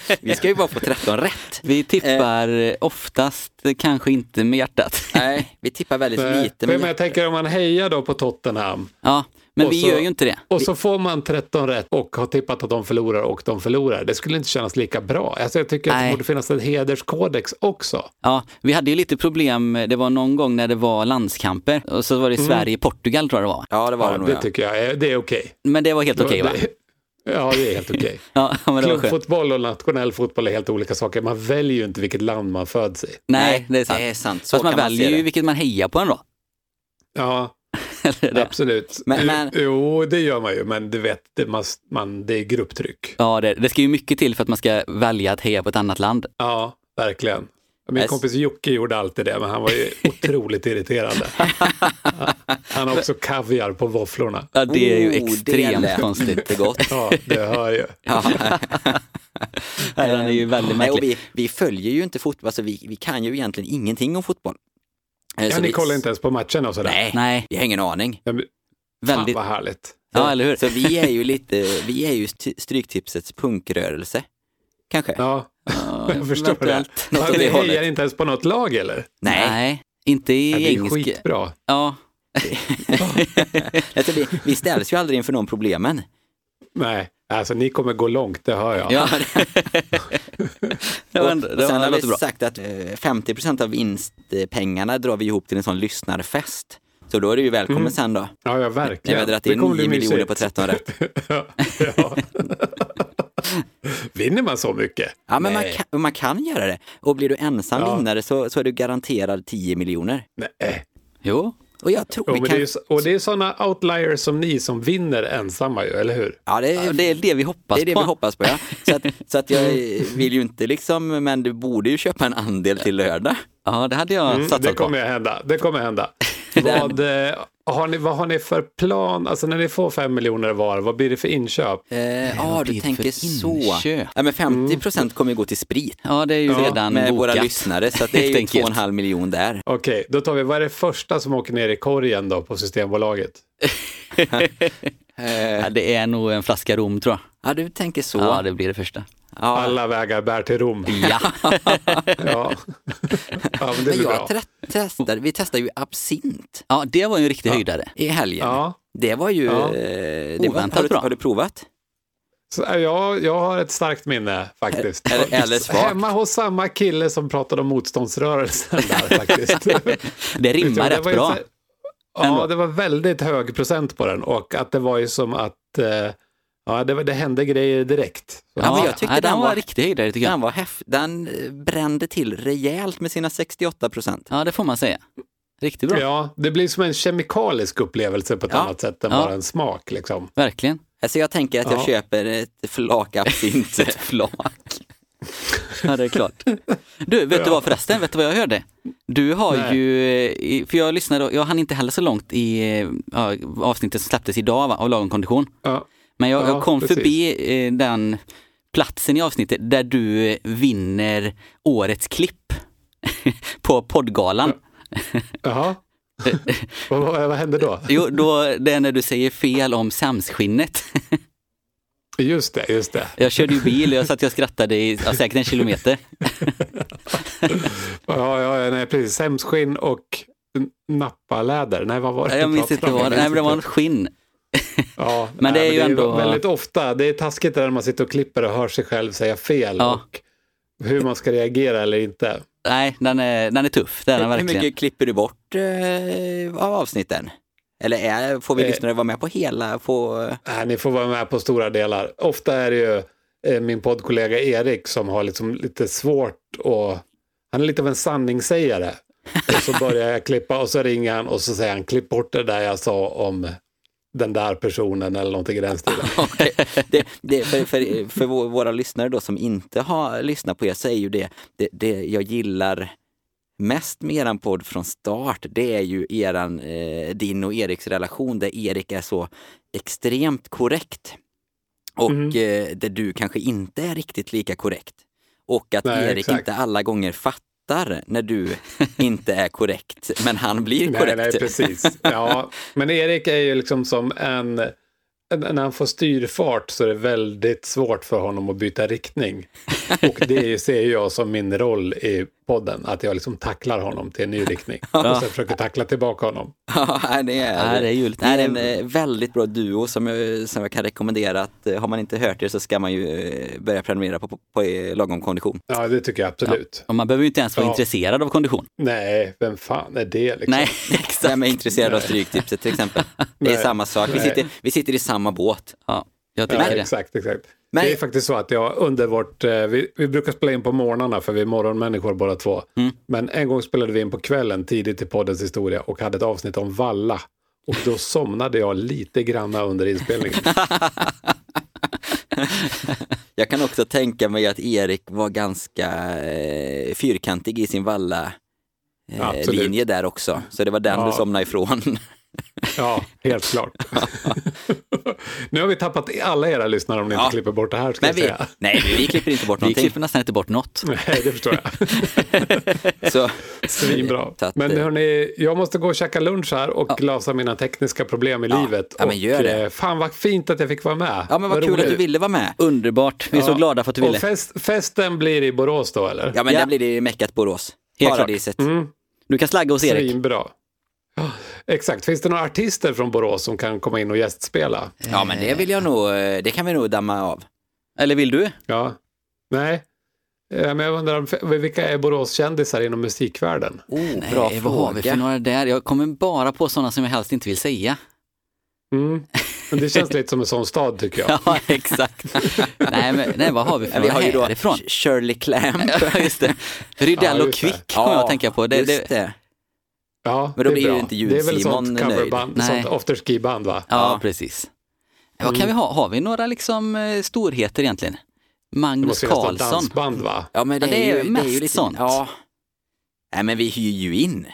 Speaker 3: Vi ska ju bara få 13 rätt.
Speaker 2: Vi tippar eh, oftast eh, kanske inte med hjärtat.
Speaker 3: Nej, vi tippar väldigt
Speaker 5: Nej,
Speaker 3: lite.
Speaker 5: men jag tänker om man hejar då på Tottenham
Speaker 2: Ja, men
Speaker 5: Och
Speaker 2: vi
Speaker 5: så-
Speaker 2: gör ju inte det.
Speaker 5: och så får man 13 rätt och har tippat att de förlorar och de förlorar. Det skulle inte kännas lika bra. Alltså, jag tycker att
Speaker 2: Nej.
Speaker 5: det borde finnas ett hederskodex också.
Speaker 2: Ja, vi hade ju lite problem, det var någon gång när det var landskamper och så var det Sverige-Portugal tror jag det var.
Speaker 3: Mm. Ja, det var
Speaker 5: ja,
Speaker 3: det nog.
Speaker 5: det
Speaker 3: ja.
Speaker 5: tycker jag. är- Det är okej.
Speaker 2: Men det var helt okej va?
Speaker 5: Det- Ja, det är helt okej.
Speaker 2: Ja, men det var skönt.
Speaker 5: Klubbfotboll och nationell fotboll är helt olika saker. Man väljer ju inte vilket land man föds i.
Speaker 2: Nej, det är sant.
Speaker 3: Det är sant. Så
Speaker 2: Fast man
Speaker 3: kan man
Speaker 2: väljer
Speaker 3: se
Speaker 2: ju
Speaker 3: det.
Speaker 2: vilket man hejar på ändå.
Speaker 5: Ja,
Speaker 2: Eller det-
Speaker 5: absolut.
Speaker 3: Men- men-
Speaker 5: Jo, det gör man ju, men du vet, det, man, man, det är grupptryck.
Speaker 2: Ja, det, det ska ju mycket till för att man ska välja att heja på ett annat land.
Speaker 5: Ja, verkligen. Min
Speaker 3: Nej, s-
Speaker 5: kompis Jocke gjorde alltid det, men han var ju otroligt irriterande. Han har också kaviar på våfflorna.
Speaker 2: Ja, det är ju
Speaker 3: Oh, det
Speaker 2: extremt
Speaker 3: lät
Speaker 2: konstigt.
Speaker 3: Inte gott.
Speaker 5: Ja, det hör ju.
Speaker 3: Ja.
Speaker 2: Nej, den är ju väldigt
Speaker 3: Nej, och
Speaker 2: märklig.
Speaker 3: vi, vi följer ju inte fotboll, alltså vi, vi kan ju egentligen ingenting om fotboll. Eh,
Speaker 5: Ja,
Speaker 3: så
Speaker 5: ni
Speaker 3: vi-
Speaker 5: kollar inte ens på matcherna och sådär.
Speaker 3: Nej,
Speaker 2: Nej,
Speaker 3: vi har ingen aning.
Speaker 5: Ja, men,
Speaker 2: väldigt.
Speaker 5: Fan vad härligt.
Speaker 2: Ja, eller hur?
Speaker 3: Så vi är ju lite, vi är ju st- Stryktipsets punkrörelse. Kanske?
Speaker 5: Ja,
Speaker 2: Ja,
Speaker 5: jag förstår det.
Speaker 2: eventuellt.
Speaker 3: Något
Speaker 5: Men
Speaker 3: åt
Speaker 5: ni
Speaker 3: det
Speaker 5: hejar
Speaker 3: hållet.
Speaker 5: inte ens på något lag eller?
Speaker 3: Nej.
Speaker 2: Nej, inte i
Speaker 5: Ja, det är
Speaker 2: engelska.
Speaker 5: skitbra.
Speaker 2: Ja,
Speaker 3: Alltså, vi, vi ställs ju aldrig inför de problemen.
Speaker 5: Nej, alltså ni kommer gå långt, det hör jag.
Speaker 2: ja. det var
Speaker 3: Och,
Speaker 2: ändå,
Speaker 3: och
Speaker 2: det
Speaker 3: sen
Speaker 2: var
Speaker 3: har vi
Speaker 2: låter bra.
Speaker 3: sagt att eh, 50 av vinstpengarna drar vi ihop till en sån lyssnarfest. Så då är det ju välkommen sen då.
Speaker 5: Ja, ja
Speaker 3: När
Speaker 5: Mm. verkligen.
Speaker 3: vi har dragit
Speaker 5: Det
Speaker 3: in
Speaker 5: kommer
Speaker 3: 9
Speaker 5: bli
Speaker 3: miljoner
Speaker 5: mysigt.
Speaker 3: på 13 rätt.
Speaker 5: ja. ja. Vinner man så mycket?
Speaker 3: Ja, men man
Speaker 5: Nej.
Speaker 3: kan, man kan göra det. Och blir du ensam
Speaker 5: Ja.
Speaker 3: vinnare så, så är du garanterad 10 miljoner.
Speaker 5: Nej.
Speaker 2: Jo,
Speaker 3: Och jag tror
Speaker 5: Jo,
Speaker 3: vi
Speaker 5: men
Speaker 3: kan...
Speaker 5: det är, ju så- och det är sådana outliers som ni som vinner ensamma ju, eller hur?
Speaker 3: Ja, det är,
Speaker 2: ja, det är det vi hoppas
Speaker 3: det är det
Speaker 2: på.
Speaker 3: vi hoppas på. Ja. Så, att, så att jag vill ju inte liksom, men du borde ju köpa en andel till lördag.
Speaker 2: Ja, det hade jag
Speaker 5: Mm, det
Speaker 2: satsat på.
Speaker 5: kommer ju hända. Det kommer hända. vad, eh, har ni, vad har ni för plan? Alltså när ni får fem miljoner var, vad blir det för inköp?
Speaker 3: Eh, Ja,
Speaker 2: vad blir
Speaker 3: du
Speaker 2: det
Speaker 3: tänker
Speaker 2: för
Speaker 3: så.
Speaker 2: inköp?
Speaker 3: Ja, men 50 procent kommer ju gå till sprit
Speaker 2: Ja, det är ju redan
Speaker 3: med
Speaker 2: bokat.
Speaker 3: våra lyssnare, så att det
Speaker 2: Helt
Speaker 3: är ju
Speaker 2: enkelt.
Speaker 3: 2,5 miljon där.
Speaker 5: Okej, då tar vi, vad är det första som åker ner i korgen då på Systembolaget?
Speaker 2: Ja, det är nog en flaska rom tror jag.
Speaker 3: Ja, du tänker så.
Speaker 2: Ja, det blir det första.
Speaker 3: Ja.
Speaker 5: Alla vägar bär till Rom.
Speaker 2: Ja,
Speaker 5: Ja, ja men det
Speaker 3: Men jag
Speaker 5: blir bra.
Speaker 3: tre- testar, vi testar ju absint
Speaker 2: ja det var ju en riktig höjdare.
Speaker 3: i helgen.
Speaker 5: Ja.
Speaker 3: Det var ju eh,
Speaker 5: Ja.
Speaker 3: det
Speaker 2: Oväntat
Speaker 3: har, du,
Speaker 2: bra.
Speaker 3: har du provat?
Speaker 5: Så, äh, ja, jag har ett starkt minne faktiskt.
Speaker 3: Eller- eller svagt.
Speaker 5: Hemma hos samma kille som pratade om motståndsrörelsen där faktiskt.
Speaker 2: Det rimmar
Speaker 5: Det
Speaker 2: rätt
Speaker 5: var ju
Speaker 2: bra.
Speaker 5: så- Ja, det var väldigt hög procent på den och att det var ju som att eh, ja, det, var- det hände grejer direkt. Så-
Speaker 3: Ja, men jag tyckte
Speaker 2: nej, den
Speaker 3: den
Speaker 2: var
Speaker 3: var-
Speaker 2: riktig höjdare tycker jag.
Speaker 3: Den, var häft, den eh, brände till rejält med sina 68 procent.
Speaker 2: Ja, det får man säga. Riktigt bra,
Speaker 5: Ja, det blir som en kemikalisk upplevelse på ett
Speaker 3: Ja.
Speaker 5: annat sätt än
Speaker 2: Ja.
Speaker 5: bara en smak. Liksom.
Speaker 2: verkligen.
Speaker 3: Alltså jag tänker att jag
Speaker 5: Ja.
Speaker 3: köper ett flak absint. ett flak?
Speaker 2: Ja, det är klart. Du, vet du
Speaker 5: Ja.
Speaker 2: vad förresten? Vet du vad jag hörde? Du har
Speaker 5: Nej.
Speaker 2: ju, eh, i- för jag lyssnade, och- jag hann inte heller så långt i eh, ja, avsnittet som släpptes idag va, av Lagom kondition.
Speaker 5: Ja.
Speaker 2: Men jag,
Speaker 5: Ja,
Speaker 2: jag kom
Speaker 5: precis.
Speaker 2: förbi eh, den platsen i avsnittet där du eh, vinner årets klipp på poddgalan.
Speaker 5: Jaha. vad, vad, vad hände då?
Speaker 2: Jo, då, det är när du säger fel om samskinnet.
Speaker 5: Just det, just det.
Speaker 2: Jag körde ju bil och jag satt och jag skrattade i ja, säkert en kilometer.
Speaker 5: Ja, ja, ja, nej, precis. Sämskskinn och n- nappaläder. Nej, vad var det?
Speaker 2: Jag minns inte vad det var. Nej, men det var en skinn.
Speaker 5: Ja,
Speaker 2: Men det är ju ändå-
Speaker 5: väldigt ofta, det är taskigt där när man sitter och klipper och hör sig själv säga fel
Speaker 2: Ja.
Speaker 5: och hur man ska reagera eller inte.
Speaker 2: Nej, den är, den är tuff. Det är den
Speaker 3: Hur
Speaker 2: verkligen.
Speaker 3: mycket klipper du bort eh, av avsnitten? Eller är, får vi
Speaker 5: Eh.
Speaker 3: lyssnare vara med på hela? På,
Speaker 5: Äh, ni får vara med på stora delar. Ofta är det ju eh, min poddkollega Erik som har liksom lite svårt och han är lite av en sanningssägare. Och så börjar jag klippa och så ringer han och så säger han klipp bort det där jag sa om den där personen eller någonting i den stilen.
Speaker 3: Okej. det, det, för, för, för vå- våra lyssnare då som inte har lyssnat på er så är ju det, det, det jag gillar mest med eran podd från start, det är ju eran, eh, din och Eriks relation där Erik är så extremt korrekt och
Speaker 5: Mhm.
Speaker 3: eh, där du kanske inte är riktigt lika korrekt. Och att
Speaker 5: Nej,
Speaker 3: Erik
Speaker 5: exakt.
Speaker 3: inte alla gånger fattar när du inte är korrekt, men han blir
Speaker 5: Nej,
Speaker 3: korrekt.
Speaker 5: nej, precis. Ja, men Erik är ju liksom som en... en- När han får styrfart så är det väldigt svårt för honom att byta riktning. Och det ser ju jag som min roll i podden, att jag liksom tacklar honom till en ny riktning. Och sen försöker tackla tillbaka honom.
Speaker 3: Ja, det är,
Speaker 2: Ja, det är ju lite-
Speaker 3: det är en eh, väldigt bra duo som jag, som jag kan rekommendera. Att, eh, har man inte hört det så ska man ju eh, börja prenumerera på, på, på eh, Lagom Kondition.
Speaker 5: Ja, det tycker jag absolut.
Speaker 2: Och man behöver ju inte ens vara
Speaker 5: Ja.
Speaker 2: intresserad av kondition.
Speaker 5: Nej, vem fan är det liksom?
Speaker 2: Nej,
Speaker 3: Vem
Speaker 2: exakt.
Speaker 3: är intresserad av Stryktipset till exempel? Det är
Speaker 5: Nej.
Speaker 3: samma sak, vi
Speaker 5: Nej.
Speaker 3: sitter, vi sitter i samma båt.
Speaker 2: Ja, jag
Speaker 5: Ja,
Speaker 2: tycker det.
Speaker 5: exakt, exakt.
Speaker 3: Men-
Speaker 5: Det är faktiskt så att jag under vårt, eh, vi, vi brukar spela in på morgnarna för vi är morgonmänniskor båda två.
Speaker 3: Mm.
Speaker 5: Men en gång spelade vi in på kvällen tidigt i poddens historia och hade ett avsnitt om valla. Och då somnade jag lite granna under inspelningen.
Speaker 3: Jag kan också tänka mig att Erik var ganska eh, fyrkantig i sin valla eh,
Speaker 5: Absolut.
Speaker 3: linje där också. Så det var den
Speaker 5: Ja.
Speaker 3: du somnade ifrån.
Speaker 5: Ja, helt klart. nu har vi tappat alla era lyssnare om ni inte
Speaker 3: Ja.
Speaker 5: klipper bort det här. Ska
Speaker 3: Men
Speaker 5: jag
Speaker 3: vi,
Speaker 5: säga.
Speaker 3: nej, vi klipper inte bort
Speaker 2: Vi
Speaker 3: någonting.
Speaker 2: klipper nästan inte bort något.
Speaker 5: Nej, det förstår jag.
Speaker 3: Så,
Speaker 5: Svinbra.
Speaker 3: Så att,
Speaker 5: Men
Speaker 3: eh,
Speaker 5: hörni, jag måste gå och käka lunch här och lösa mina tekniska problem i
Speaker 3: Ja.
Speaker 5: livet.
Speaker 3: Ja, men
Speaker 5: och,
Speaker 3: gör det.
Speaker 5: eh, Fan vad fint att jag fick vara med.
Speaker 3: ja, men vad kul att du
Speaker 5: roligt.
Speaker 3: ville vara med.
Speaker 2: Underbart. Vi är så
Speaker 5: Ja.
Speaker 2: glada för att du ville.
Speaker 5: Och fest, festen blir i Borås då eller? Mm,
Speaker 3: Ja, Mm. men
Speaker 2: Ja.
Speaker 3: där blir det ju meckat Borås.
Speaker 2: Helt klart.
Speaker 3: Paradiset.
Speaker 2: Du kan slagga hos Erik.
Speaker 5: Svinbra. Ja, Exakt, finns det några artister från Borås som kan komma in och gästspela?
Speaker 3: Ja, men det vill jag nog, eh, det kan vi nog damma av.
Speaker 2: Eller vill du?
Speaker 5: Ja. Nej. Eh, Men jag undrar, om- vilka är Boråskändisar inom musikvärlden?
Speaker 3: Oh,
Speaker 2: Nej, vad har vi för några där? Jag kommer bara på sådana som jag helst inte vill säga.
Speaker 5: Mm. Men det känns lite som en sån stad tycker jag.
Speaker 2: Ja, exakt. nej, men nej, vad har vi för
Speaker 3: Vi
Speaker 2: några
Speaker 3: har ju då
Speaker 2: härifrån?
Speaker 3: Sh- Shirley Clamp.
Speaker 2: Ja, just det. Rydell
Speaker 5: Ja,
Speaker 2: och
Speaker 5: just det.
Speaker 2: Quick kommer jag att tänka på. Det,
Speaker 3: just
Speaker 2: det,
Speaker 3: det.
Speaker 5: Ja,
Speaker 3: Men då
Speaker 5: det är
Speaker 3: blir ju
Speaker 5: bra.
Speaker 3: inte
Speaker 5: Det är väl
Speaker 3: Jul-Simon
Speaker 5: sånt
Speaker 3: nöjd.
Speaker 5: coverband,
Speaker 2: Nej.
Speaker 5: sånt afterski-band va?
Speaker 2: ja, precis. Vad
Speaker 3: Mm.
Speaker 2: kan vi ha? Har vi några liksom eh, storheter egentligen?
Speaker 5: Det
Speaker 2: Magnus
Speaker 5: måste finnas något
Speaker 2: Karlsson.
Speaker 5: dansband va?
Speaker 3: Ja, men det,
Speaker 2: Ja, det är
Speaker 3: är, ju,
Speaker 2: mest
Speaker 3: det är ju lite,
Speaker 2: sånt.
Speaker 3: Ja. Nej, men vi hyr ju in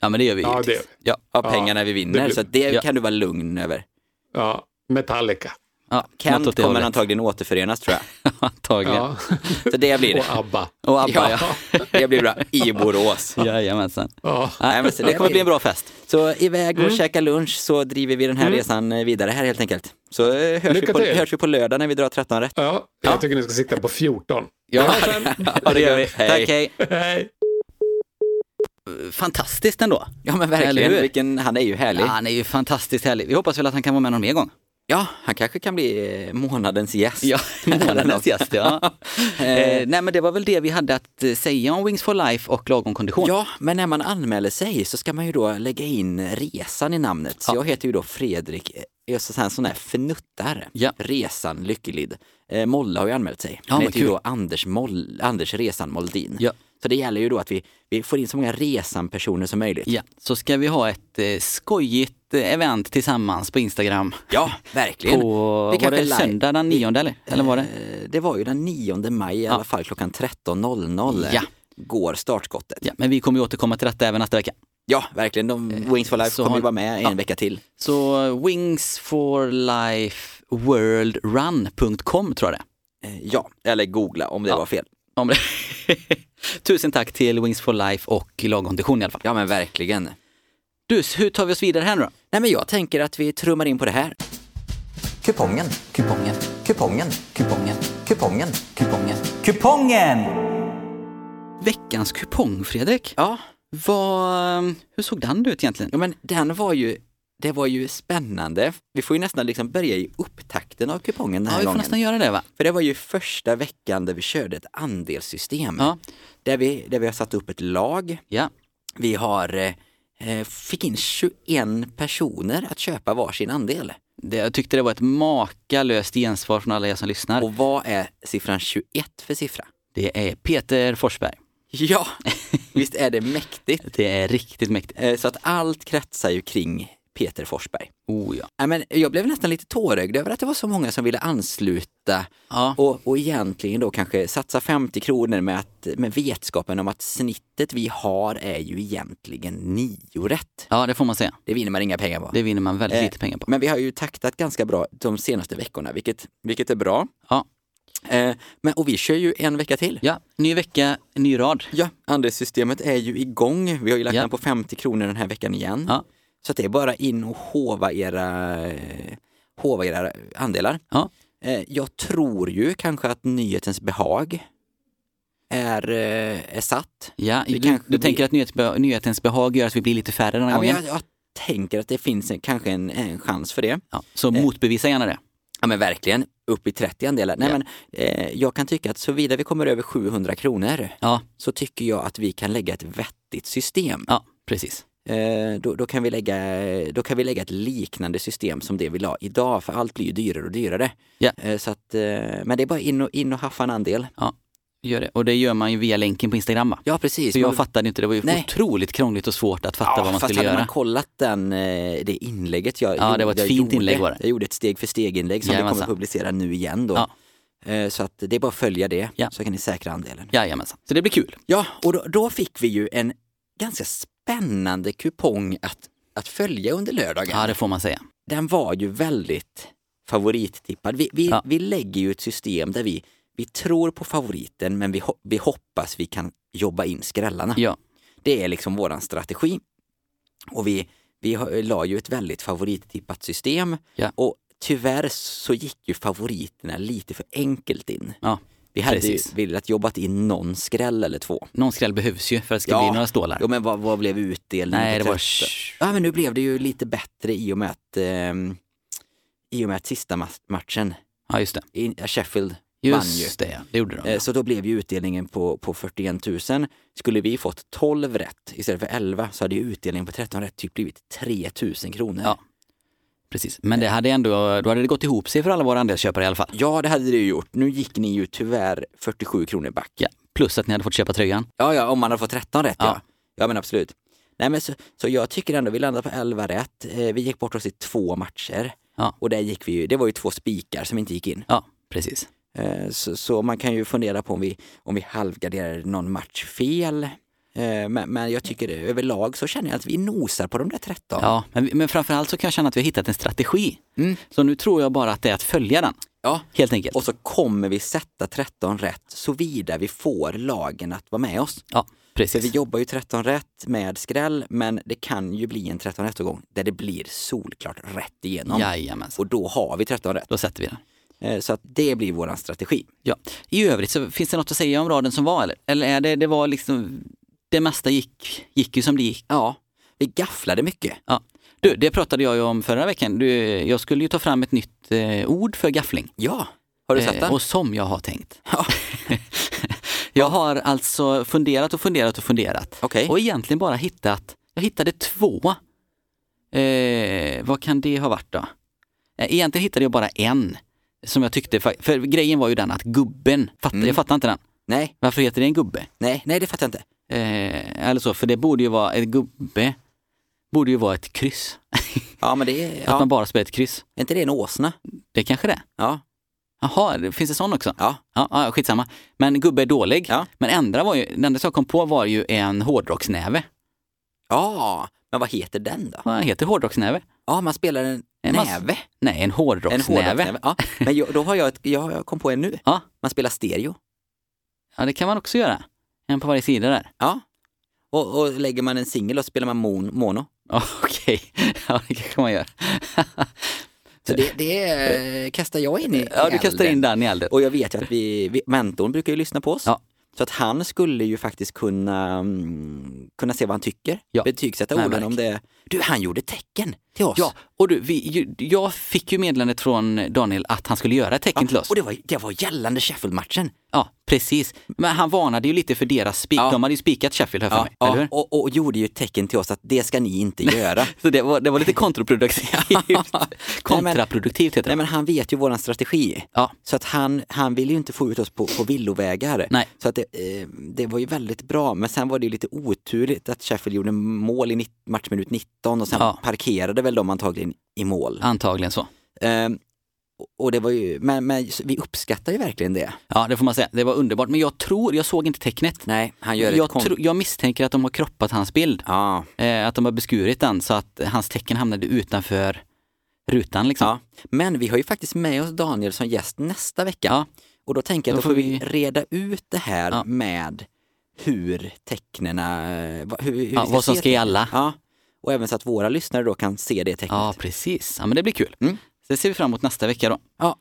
Speaker 2: Ja, men det gör vi
Speaker 5: Ja,
Speaker 2: givetvis.
Speaker 5: det,
Speaker 3: ja, av
Speaker 5: Ja,
Speaker 3: pengarna vi vinner,
Speaker 5: det blir-
Speaker 3: så att det
Speaker 2: Ja.
Speaker 3: kan du vara lugn över.
Speaker 5: ja, Metallica.
Speaker 2: Ja, något åt
Speaker 3: Kent
Speaker 2: det
Speaker 3: kommer
Speaker 2: hållet.
Speaker 3: antagligen återförenas tror jag.
Speaker 2: Antagligen.
Speaker 5: Ja.
Speaker 3: Så det blir det.
Speaker 5: och ABBA.
Speaker 2: Och ABBA, ja.
Speaker 3: det blir bra. I Borås.
Speaker 2: Jajamensan.
Speaker 5: Ja.
Speaker 2: Nej, men så det kommer bli en bra fest. Mm.
Speaker 3: Så iväg och käka lunch så driver vi den här resan vidare här helt enkelt. Så eh,
Speaker 2: Mm.
Speaker 3: hörs vi,
Speaker 5: Lycka
Speaker 3: på,
Speaker 5: till.
Speaker 3: hörs vi på lördag när vi drar 13 rätt.
Speaker 5: Ja, jag tycker ni ska sikta på 14.
Speaker 2: Ja, ja, det gör vi.
Speaker 3: Hej.
Speaker 2: Tack, hej.
Speaker 5: Hej!
Speaker 2: Fantastiskt ändå.
Speaker 3: Ja men
Speaker 2: Eller
Speaker 3: verkligen,
Speaker 2: hur?
Speaker 3: Vilken, han är ju härlig.
Speaker 2: Ja, han är ju fantastiskt härlig. Vi hoppas väl att han kan vara med någon mer gång.
Speaker 3: Ja, han kanske kan bli eh, månadens gäst.
Speaker 2: månadens gäst. Ja. eh,
Speaker 3: Eh,
Speaker 2: nej, men det var väl det vi hade att eh, säga om Wings for Life och lagom kondition.
Speaker 3: Ja, men när man anmäler sig så ska man ju då lägga in resan i namnet. Så
Speaker 2: Ja.
Speaker 3: jag heter ju då Fredrik, eh, jag är så- en sån här fnuttare.
Speaker 2: Ja.
Speaker 3: Resan Lyckelid. Eh, Molla har ju anmält sig. Han
Speaker 2: men
Speaker 3: heter ju
Speaker 2: kul.
Speaker 3: då Anders, Moll, Anders Resan Moldin.
Speaker 2: Ja.
Speaker 3: Så det gäller ju då att vi, vi får in så många resan-personer som möjligt.
Speaker 2: Ja, så ska vi ha ett eh, skojigt eh, event tillsammans på Instagram.
Speaker 3: Ja, verkligen.
Speaker 2: På,
Speaker 3: Vi
Speaker 2: var
Speaker 3: kanske
Speaker 2: det
Speaker 3: live-
Speaker 2: söndag den 9 eller? Eller var det?
Speaker 3: Eh, Det var ju den 9 maj i alla fall klockan 13.00
Speaker 2: Ja.
Speaker 3: går startskottet.
Speaker 2: Ja, men vi kommer ju återkomma till detta även nästa vecka.
Speaker 3: Ja, verkligen. De, Wings for Life
Speaker 2: så
Speaker 3: kommer
Speaker 2: har-
Speaker 3: ju vara med
Speaker 2: Ja.
Speaker 3: en vecka till.
Speaker 2: Så eh, wingsforlifeworldrun.com tror jag det är.
Speaker 3: Eh, Ja, eller googla om det var fel.
Speaker 2: Om det. Tusen tack till Wings for Life och Lagom Kondition i alla fall.
Speaker 3: Ja, men verkligen.
Speaker 2: Du, hur tar vi oss vidare här nu då?
Speaker 3: Nej, men jag tänker att vi trummar in på det här.
Speaker 6: Kupongen,
Speaker 3: Kupongen,
Speaker 6: kupongen,
Speaker 3: kupongen,
Speaker 6: kupongen,
Speaker 3: kupongen.
Speaker 6: kupongen!
Speaker 2: Veckans kupong, Fredrik.
Speaker 3: Ja,
Speaker 2: Vad, ehm, hur såg den ut egentligen?
Speaker 3: ja, men den var ju, det var ju spännande. Vi får ju nästan liksom börja i upptakten av kupongen den
Speaker 2: Ja,
Speaker 3: här
Speaker 2: vi får
Speaker 3: gången.
Speaker 2: nästan göra det va?
Speaker 3: För det var ju första veckan där vi körde ett andelssystem.
Speaker 2: Ja.
Speaker 3: Där, vi, där vi har satt upp ett lag.
Speaker 2: Ja.
Speaker 3: Vi har, eh, eh, fick in 21 personer att köpa varsin andel.
Speaker 2: Det, jag tyckte det var ett makalöst gensvar från alla er som lyssnar.
Speaker 3: Och vad är siffran 21 för siffra?
Speaker 2: det är Peter Forsberg.
Speaker 3: Ja, visst är det mäktigt?
Speaker 2: Det är riktigt mäktigt.
Speaker 3: Eh, Så att allt kretsar ju kring Peter Forsberg.
Speaker 2: Oh ja.
Speaker 3: Nej, men jag blev nästan lite tårögd över att det var så många som ville ansluta
Speaker 2: Ja.
Speaker 3: och, och egentligen då kanske satsa 50 kronor med, att, med vetskapen om att snittet vi har är ju egentligen nio rätt.
Speaker 2: ja, det får man säga.
Speaker 3: Det vinner man inga pengar på.
Speaker 2: Det vinner man väldigt
Speaker 3: Eh,
Speaker 2: lite pengar på.
Speaker 3: Men vi har ju taktat ganska bra de senaste veckorna, vilket, vilket är bra.
Speaker 2: Ja.
Speaker 3: Eh, men, och vi kör ju en vecka till.
Speaker 2: Ja, ny vecka, ny rad.
Speaker 3: Ja, andelssystemet är ju igång. Vi har ju lagt
Speaker 2: Ja.
Speaker 3: den på 50 kronor den här veckan igen.
Speaker 2: Ja.
Speaker 3: Så att det är bara in och hova era, eh, hova era andelar.
Speaker 2: Ja.
Speaker 3: Eh, Jag tror ju kanske att nyhetens behag är, eh, är satt.
Speaker 2: Ja,
Speaker 3: Det
Speaker 2: du, du
Speaker 3: kanske blir-
Speaker 2: tänker att nyhetsbe- nyhetens behag gör att vi blir lite färre den här
Speaker 3: Ja, men
Speaker 2: gången?
Speaker 3: jag, jag tänker att det finns en, kanske en, en chans för det.
Speaker 2: Ja, så
Speaker 3: eh,
Speaker 2: motbevisa gärna det.
Speaker 3: Ja men verkligen, upp i 30 andelar. Nej,
Speaker 2: Ja.
Speaker 3: men, eh, jag kan tycka att såvida vi kommer över 700 kronor
Speaker 2: Ja,
Speaker 3: så tycker jag att vi kan lägga ett vettigt system.
Speaker 2: ja precis.
Speaker 3: Eh, då, då, kan vi lägga, då kan vi lägga ett liknande system som det vi la idag, för allt blir ju dyrare och dyrare.
Speaker 2: Ja.
Speaker 3: Eh, så att, eh, men det är bara in och, in och haffa en andel.
Speaker 2: Gör det. Och det gör man ju via länken på Instagram va?
Speaker 3: Ja, precis.
Speaker 2: För jag
Speaker 3: Man-
Speaker 2: fattade inte, det var ju
Speaker 3: Nej.
Speaker 2: otroligt krångligt och svårt att fatta
Speaker 3: ja,
Speaker 2: vad man
Speaker 3: fast
Speaker 2: skulle
Speaker 3: hade
Speaker 2: göra.
Speaker 3: man kollat den, eh, det inlägget jag
Speaker 2: Ja, det var ett
Speaker 3: jag
Speaker 2: fint
Speaker 3: gjorde,
Speaker 2: inlägg var det.
Speaker 3: Jag gjorde ett steg för steg-inlägg som vi
Speaker 2: Jajamensan.
Speaker 3: kommer publicera nu igen då. Eh, Så att det är bara att följa det,
Speaker 2: Ja.
Speaker 3: så kan ni säkra andelen.
Speaker 2: Jajamensan. Så det blir kul.
Speaker 3: Ja, och då, då fick vi ju en ganska spännande kupong att, att följa under lördagen.
Speaker 2: Ja, det får man säga.
Speaker 3: den var ju väldigt favorittippad. Vi, vi,
Speaker 2: Ja.
Speaker 3: vi lägger ju ett system där vi, vi tror på favoriten men vi, ho- vi hoppas vi kan jobba in skrällarna.
Speaker 2: Ja.
Speaker 3: Det är liksom våran strategi. Och vi, vi har- la ju ett väldigt favorittippat system
Speaker 2: Ja.
Speaker 3: och tyvärr så gick ju favoriterna lite för enkelt in.
Speaker 2: ja.
Speaker 3: Vi hade
Speaker 2: Precis.
Speaker 3: ju velat jobbat in någon skräll eller två.
Speaker 2: Någon skräll behövs ju för att det ska
Speaker 3: Ja.
Speaker 2: bli några stålar.
Speaker 3: Jo men vad, vad blev utdelningen?
Speaker 2: Nej,
Speaker 3: på
Speaker 2: det var...
Speaker 3: tretton? Ja, men nu blev det ju lite bättre i och med att, ehm, i och med att sista ma- matchen,
Speaker 2: Ja, just det.
Speaker 3: i, ja, Sheffield, vann ju.
Speaker 2: Just det, ja. Det gjorde de.
Speaker 3: Eh, så då blev ju utdelningen på, på 41 000. Skulle vi fått 12 rätt istället för 11 så hade ju utdelningen på 13 rätt typ blivit 3 000 kronor.
Speaker 2: Ja. Precis. Men det hade ändå, då hade det gått ihop sig för alla våra andelsköpare i alla fall.
Speaker 3: ja, det hade det ju gjort. Nu gick ni ju tyvärr 47 kronor back.
Speaker 2: Ja. Plus att ni hade fått köpa tröjan.
Speaker 3: Ja, ja, om man har fått 13 rätt ja.
Speaker 2: Ja.
Speaker 3: Ja, men absolut. Nej, men så, så jag tycker ändå vi landade på 11 rätt. Eh, vi gick bort oss i två matcher.
Speaker 2: Ja.
Speaker 3: Och där gick vi ju, det var ju två spikar som inte gick in.
Speaker 2: Ja, precis.
Speaker 3: Eh, Så, så man kan ju fundera på om vi, om vi halvgarderar någon match fel. Eh, Men, men jag tycker det, överlag så känner jag att vi nosar på de där 13.
Speaker 2: Ja, men, vi- men framförallt så kan jag känna att vi har hittat en strategi.
Speaker 3: Mm.
Speaker 2: Så nu tror jag bara att det är att följa den,
Speaker 3: Ja.
Speaker 2: helt enkelt.
Speaker 3: Och så kommer vi sätta 13 rätt såvida vi får lagen att vara med oss.
Speaker 2: Ja,
Speaker 3: För vi
Speaker 2: precis.
Speaker 3: jobbar ju 13 rätt med skräll, men det kan ju bli en 13 rätt-gång där det blir solklart rätt igenom.
Speaker 2: Jajamensan.
Speaker 3: Och då har vi 13 rätt.
Speaker 2: Då sätter vi den.
Speaker 3: Eh, Så att det blir vår strategi.
Speaker 2: Ja. I övrigt så finns det något att säga om raden som var eller? Eller är det, det var liksom, det mesta gick, gick ju som det gick.
Speaker 3: Ja, vi gafflade mycket.
Speaker 2: Ja. Du, det pratade jag ju om förra veckan. Du, jag skulle ju ta fram ett nytt eh, ord för gaffling.
Speaker 3: Ja, har du sett
Speaker 2: Eh,
Speaker 3: den?
Speaker 2: Och som jag har tänkt. jag har alltså funderat och funderat och funderat.
Speaker 3: Okej.
Speaker 2: Och egentligen bara hittat, jag hittade två. Eh, vad kan det ha varit då? Eh, Egentligen hittade jag bara en. Som jag tyckte, fa- för grejen var ju den att gubben, fatt,
Speaker 3: Mm.
Speaker 2: jag fattar inte den.
Speaker 3: Nej,
Speaker 2: Varför heter det en gubbe?
Speaker 3: nej, nej det fattar jag inte.
Speaker 2: Eh, eller så, för det borde ju vara, en gubbe borde ju vara ett kryss.
Speaker 3: Ja, men det är...
Speaker 2: Att
Speaker 3: Ja.
Speaker 2: man bara spelar ett kryss.
Speaker 3: Är inte det en åsna?
Speaker 2: Det kanske det är.
Speaker 3: Ja.
Speaker 2: Jaha, det- finns det sån också?
Speaker 3: Ja.
Speaker 2: Ja, ja, skitsamma. Men gubbe är dålig.
Speaker 3: Ja.
Speaker 2: Men ändra var ju, den enda som jag kom på var ju en hårdrocksnäve.
Speaker 3: Ja, men vad heter den då?
Speaker 2: Vad heter hårdrocksnäve?
Speaker 3: Ja, man spelar en
Speaker 2: En mass-
Speaker 3: näve.
Speaker 2: Nej, en hårdrocksnäve.
Speaker 3: En hårdrocksnäve. Ja, men jag, då har jag, ett, jag har- jag kom på en nu.
Speaker 2: Ja.
Speaker 3: Man spelar stereo.
Speaker 2: Ja, det kan man också göra. En på varje sida där.
Speaker 3: Ja. Och, och lägger man en singel och spelar man mon, mono.
Speaker 2: Ja, Okej, ja, det kanske man gör.
Speaker 3: Så det, det är, kastar jag in i
Speaker 2: Ja, du kastar
Speaker 3: elden.
Speaker 2: in den i elden.
Speaker 3: Och jag vet ju att vi, vi, mentorn brukar ju lyssna på oss.
Speaker 2: Ja.
Speaker 3: Så att han skulle ju faktiskt kunna, mm, kunna se vad han tycker,
Speaker 2: Ja.
Speaker 3: betygsätta
Speaker 2: Nej,
Speaker 3: orden om det. Du, han gjorde tecken till oss.
Speaker 2: Ja, och du, vi, ju- jag fick ju meddelandet från Daniel att han skulle göra ett tecken till oss.
Speaker 3: Och det var, det var gällande Sheffield-matchen.
Speaker 2: Ja, precis. Men han varnade ju lite för deras spik.
Speaker 3: Ja.
Speaker 2: De hade ju spikat Sheffield här för mig, eller hur?
Speaker 3: och, och gjorde ju ett tecken till oss att det ska ni inte göra.
Speaker 2: Så det var, det var lite kontraproduktivt. kontraproduktivt heter
Speaker 3: Nej
Speaker 2: det.
Speaker 3: men han vet ju våran strategi.
Speaker 2: Ja,
Speaker 3: Så att han, han vill ju inte få ut oss på, på villovägar.
Speaker 2: Nej.
Speaker 3: Så att det, eh, det var ju väldigt bra. Men sen var det ju lite oturligt att Sheffield gjorde mål i nitt, matchminut 19 och sen
Speaker 2: Ja.
Speaker 3: parkerade väl de antagligen i mål.
Speaker 2: antagligen så.
Speaker 3: Ehm, och- och det var ju, men, men vi uppskattar ju verkligen det.
Speaker 2: Ja, det får man säga. Det var underbart. Men jag tror, jag såg inte tecknet.
Speaker 3: Nej, han gör
Speaker 2: Jag,
Speaker 3: ett kont-
Speaker 2: tror- jag misstänker att de har kroppat hans bild.
Speaker 3: Ja,
Speaker 2: Eh, att de har beskurit den så att hans tecken hamnade utanför rutan liksom.
Speaker 3: ja. Men vi har ju faktiskt med oss Daniel som gäst nästa vecka.
Speaker 2: Ja.
Speaker 3: Och då tänker jag
Speaker 2: Då
Speaker 3: att då
Speaker 2: får
Speaker 3: får vi
Speaker 2: vi-
Speaker 3: reda ut det här
Speaker 2: Ja.
Speaker 3: med hur tecknena, eh, va- hur, hur vi
Speaker 2: Ja, vad som
Speaker 3: se
Speaker 2: ska
Speaker 3: det.
Speaker 2: gälla.
Speaker 3: Ja, och även så att våra lyssnare då kan se det tecknet.
Speaker 2: Ja, precis. Ja, men det blir kul.
Speaker 3: Mm.
Speaker 2: Så det ser vi fram emot nästa vecka då.
Speaker 3: Ja.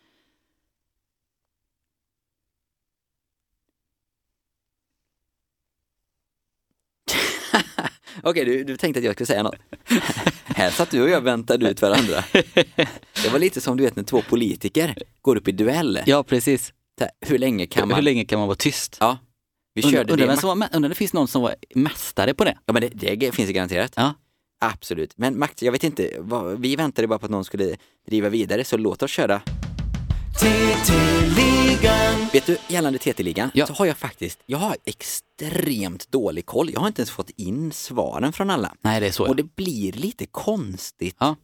Speaker 3: Okej, du, du tänkte att jag skulle säga något. Här satt du och jag väntade ut varandra. Det var lite som du vet när två politiker går upp i duell.
Speaker 2: Ja, precis.
Speaker 3: Så här, Hur länge kan man?
Speaker 2: Hur länge kan man vara tyst?
Speaker 3: Ja, vi
Speaker 2: Undrar-
Speaker 3: körde
Speaker 2: undrar,
Speaker 3: det.
Speaker 2: vem som var, mä- undrar om det finns någon som var mästare på det?
Speaker 3: Ja, men det, det finns det garanterat.
Speaker 2: Ja.
Speaker 3: Absolut. Men Max, jag vet inte, vad, vi väntade bara på att någon skulle driva vidare, så låt oss köra. TT-ligan. Vet du, gällande TT-ligan
Speaker 2: Ja.
Speaker 3: så har jag faktiskt, jag har extremt dålig koll. Jag har inte ens fått in svaren från alla.
Speaker 2: Nej, det är så.
Speaker 3: Och det blir lite konstigt
Speaker 2: Ja.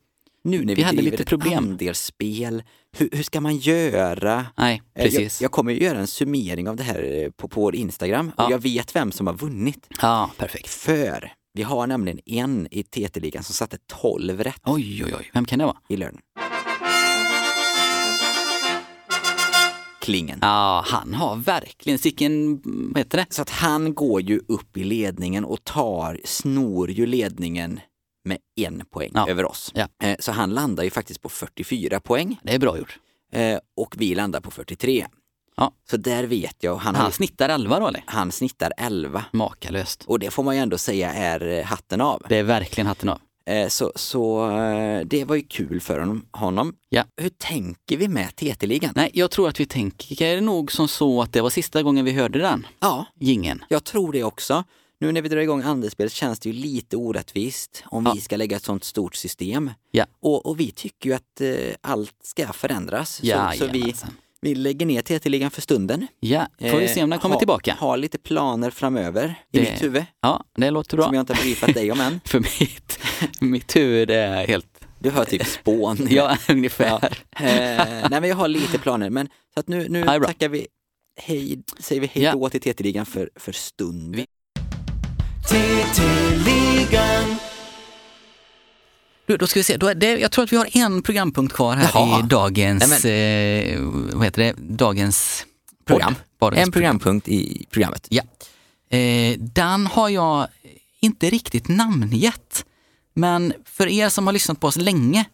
Speaker 3: nu när vi,
Speaker 2: Vi hade
Speaker 3: driver
Speaker 2: lite
Speaker 3: ett
Speaker 2: problem.
Speaker 3: andelsspel. Hur, hur ska man göra?
Speaker 2: Nej,
Speaker 3: Eh,
Speaker 2: precis.
Speaker 3: Jag, jag kommer ju göra en summering av det här eh, på, på vår Instagram
Speaker 2: Ja.
Speaker 3: och jag vet vem som har vunnit.
Speaker 2: Ja, perfekt.
Speaker 3: För vi har nämligen en i TT-ligan som satte 12 rätt
Speaker 2: Oj, oj, oj. Vem kan det vara?
Speaker 3: i lön. Klingen.
Speaker 2: Ja, han har verkligen sicken, vad heter det?
Speaker 3: Så att han går ju upp i ledningen och tar, snor ju ledningen med en poäng
Speaker 2: Ja.
Speaker 3: över oss.
Speaker 2: Ja.
Speaker 3: Eh, Så han landar ju faktiskt på 44 poäng
Speaker 2: Det är bra gjort.
Speaker 3: eh, och vi landar på 43.
Speaker 2: Ja.
Speaker 3: Så där vet jag, han, har,
Speaker 2: Han snittar elva då eller?
Speaker 3: han snittar 11.
Speaker 2: Makalöst.
Speaker 3: Och det får man ju ändå säga är eh, hatten av.
Speaker 2: Det är verkligen hatten av.
Speaker 3: Eh, Så, så eh, det var ju kul för honom- honom.
Speaker 2: Ja.
Speaker 3: Hur tänker vi med TT-ligan?
Speaker 2: Nej, jag tror att vi tänker nog som så att det var sista gången vi hörde den
Speaker 3: Ja,
Speaker 2: gingen.
Speaker 3: jag tror det också. Nu när vi drar igång andelsspelet känns det ju lite orättvist om
Speaker 2: Ja.
Speaker 3: vi ska lägga ett sånt stort system.
Speaker 2: Ja.
Speaker 3: Och, och vi tycker ju att eh, allt ska förändras. så så vi,
Speaker 2: Jajamensan.
Speaker 3: vi lägger ner TT-ligan för stunden.
Speaker 2: Ja, får vi se om den
Speaker 3: Eh,
Speaker 2: kommer
Speaker 3: ha,
Speaker 2: tillbaka.
Speaker 3: Har lite planer framöver i
Speaker 2: Det-
Speaker 3: mitt huvud
Speaker 2: Ja, det låter bra.
Speaker 3: som jag inte har briefat dig om än.
Speaker 2: För mitt, mitt huvud är helt,
Speaker 3: Du hör typ spån.
Speaker 2: ja ungefär.
Speaker 3: Eh, nej men jag har lite planer. Men så att nu, nu
Speaker 2: Ja, det är bra.
Speaker 3: tackar vi hej, säger vi hej
Speaker 2: Ja.
Speaker 3: då till TT-ligan för, för stunden.
Speaker 2: Du, då ska vi se. Då är det, jag tror att vi har en programpunkt kvar här
Speaker 3: Jaha.
Speaker 2: i dagens, eh, vad heter det, dagens
Speaker 3: Program.
Speaker 2: podd. Dagens
Speaker 3: En programpunkt i programmet.
Speaker 2: Ja. Eh, den har jag inte riktigt namngett. Men för er som har lyssnat på oss länge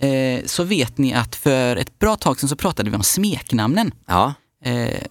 Speaker 2: eh, så vet ni att för ett bra tag sedan så pratade vi om smeknamnen.
Speaker 3: Ja,
Speaker 2: Eh,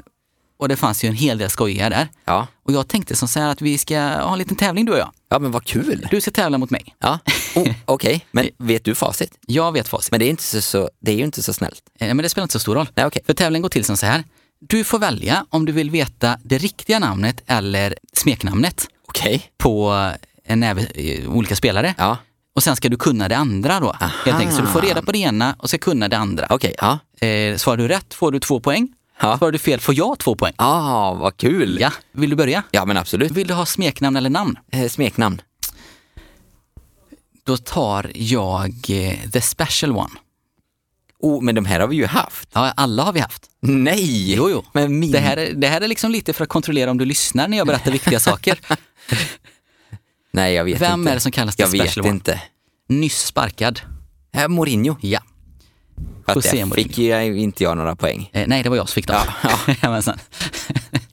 Speaker 2: och det fanns ju en hel del skojiga där.
Speaker 3: ja.
Speaker 2: Och jag tänkte som så här att vi ska ha en liten tävling du och jag.
Speaker 3: ja men vad kul.
Speaker 2: Du ska tävla mot mig.
Speaker 3: Ja. Oh, Okej, men vet du facit?
Speaker 2: Jag vet facit.
Speaker 3: Men det är, inte så, så, det är ju inte så snällt.
Speaker 2: Eh, men det spelar inte så stor roll.
Speaker 3: Nej, okej.
Speaker 2: För tävlingen går till som så här. Du får välja om du vill veta det riktiga namnet eller smeknamnet
Speaker 3: Okej.
Speaker 2: på en näve eh, olika spelare.
Speaker 3: Ja,
Speaker 2: Och sen ska du kunna det andra då. Helt enkelt. Så du får reda på det ena och ska kunna det andra.
Speaker 3: okej. Ja.
Speaker 2: Eh, svarar du rätt får du två poäng.
Speaker 3: Ja.
Speaker 2: Svarar du fel får jag två poäng.
Speaker 3: Ah, vad kul.
Speaker 2: Ja, vill du börja?
Speaker 3: ja men absolut.
Speaker 2: Vill du ha smeknamn eller namn?
Speaker 3: Eh, smeknamn.
Speaker 2: Då tar jag eh, the special one.
Speaker 3: Oh, men de här har vi ju haft.
Speaker 2: Ja, alla har vi haft.
Speaker 3: Nej!
Speaker 2: Jo, jo.
Speaker 3: Men min...
Speaker 2: Det här, är, det här är liksom lite för att kontrollera om du lyssnar när jag berättar viktiga saker.
Speaker 3: Nej, jag vet
Speaker 2: Vem
Speaker 3: inte.
Speaker 2: är det som kallas the
Speaker 3: Jag vet
Speaker 2: special one?
Speaker 3: inte.
Speaker 2: Nyss sparkad.
Speaker 3: Eh, Mourinho.
Speaker 2: Ja.
Speaker 3: För att
Speaker 2: José
Speaker 3: där
Speaker 2: Mourinho.
Speaker 3: fick ju jag- inte jag några poäng.
Speaker 2: Eh, nej, det var jag som fick dem.
Speaker 3: Ja,
Speaker 2: Jajamensan.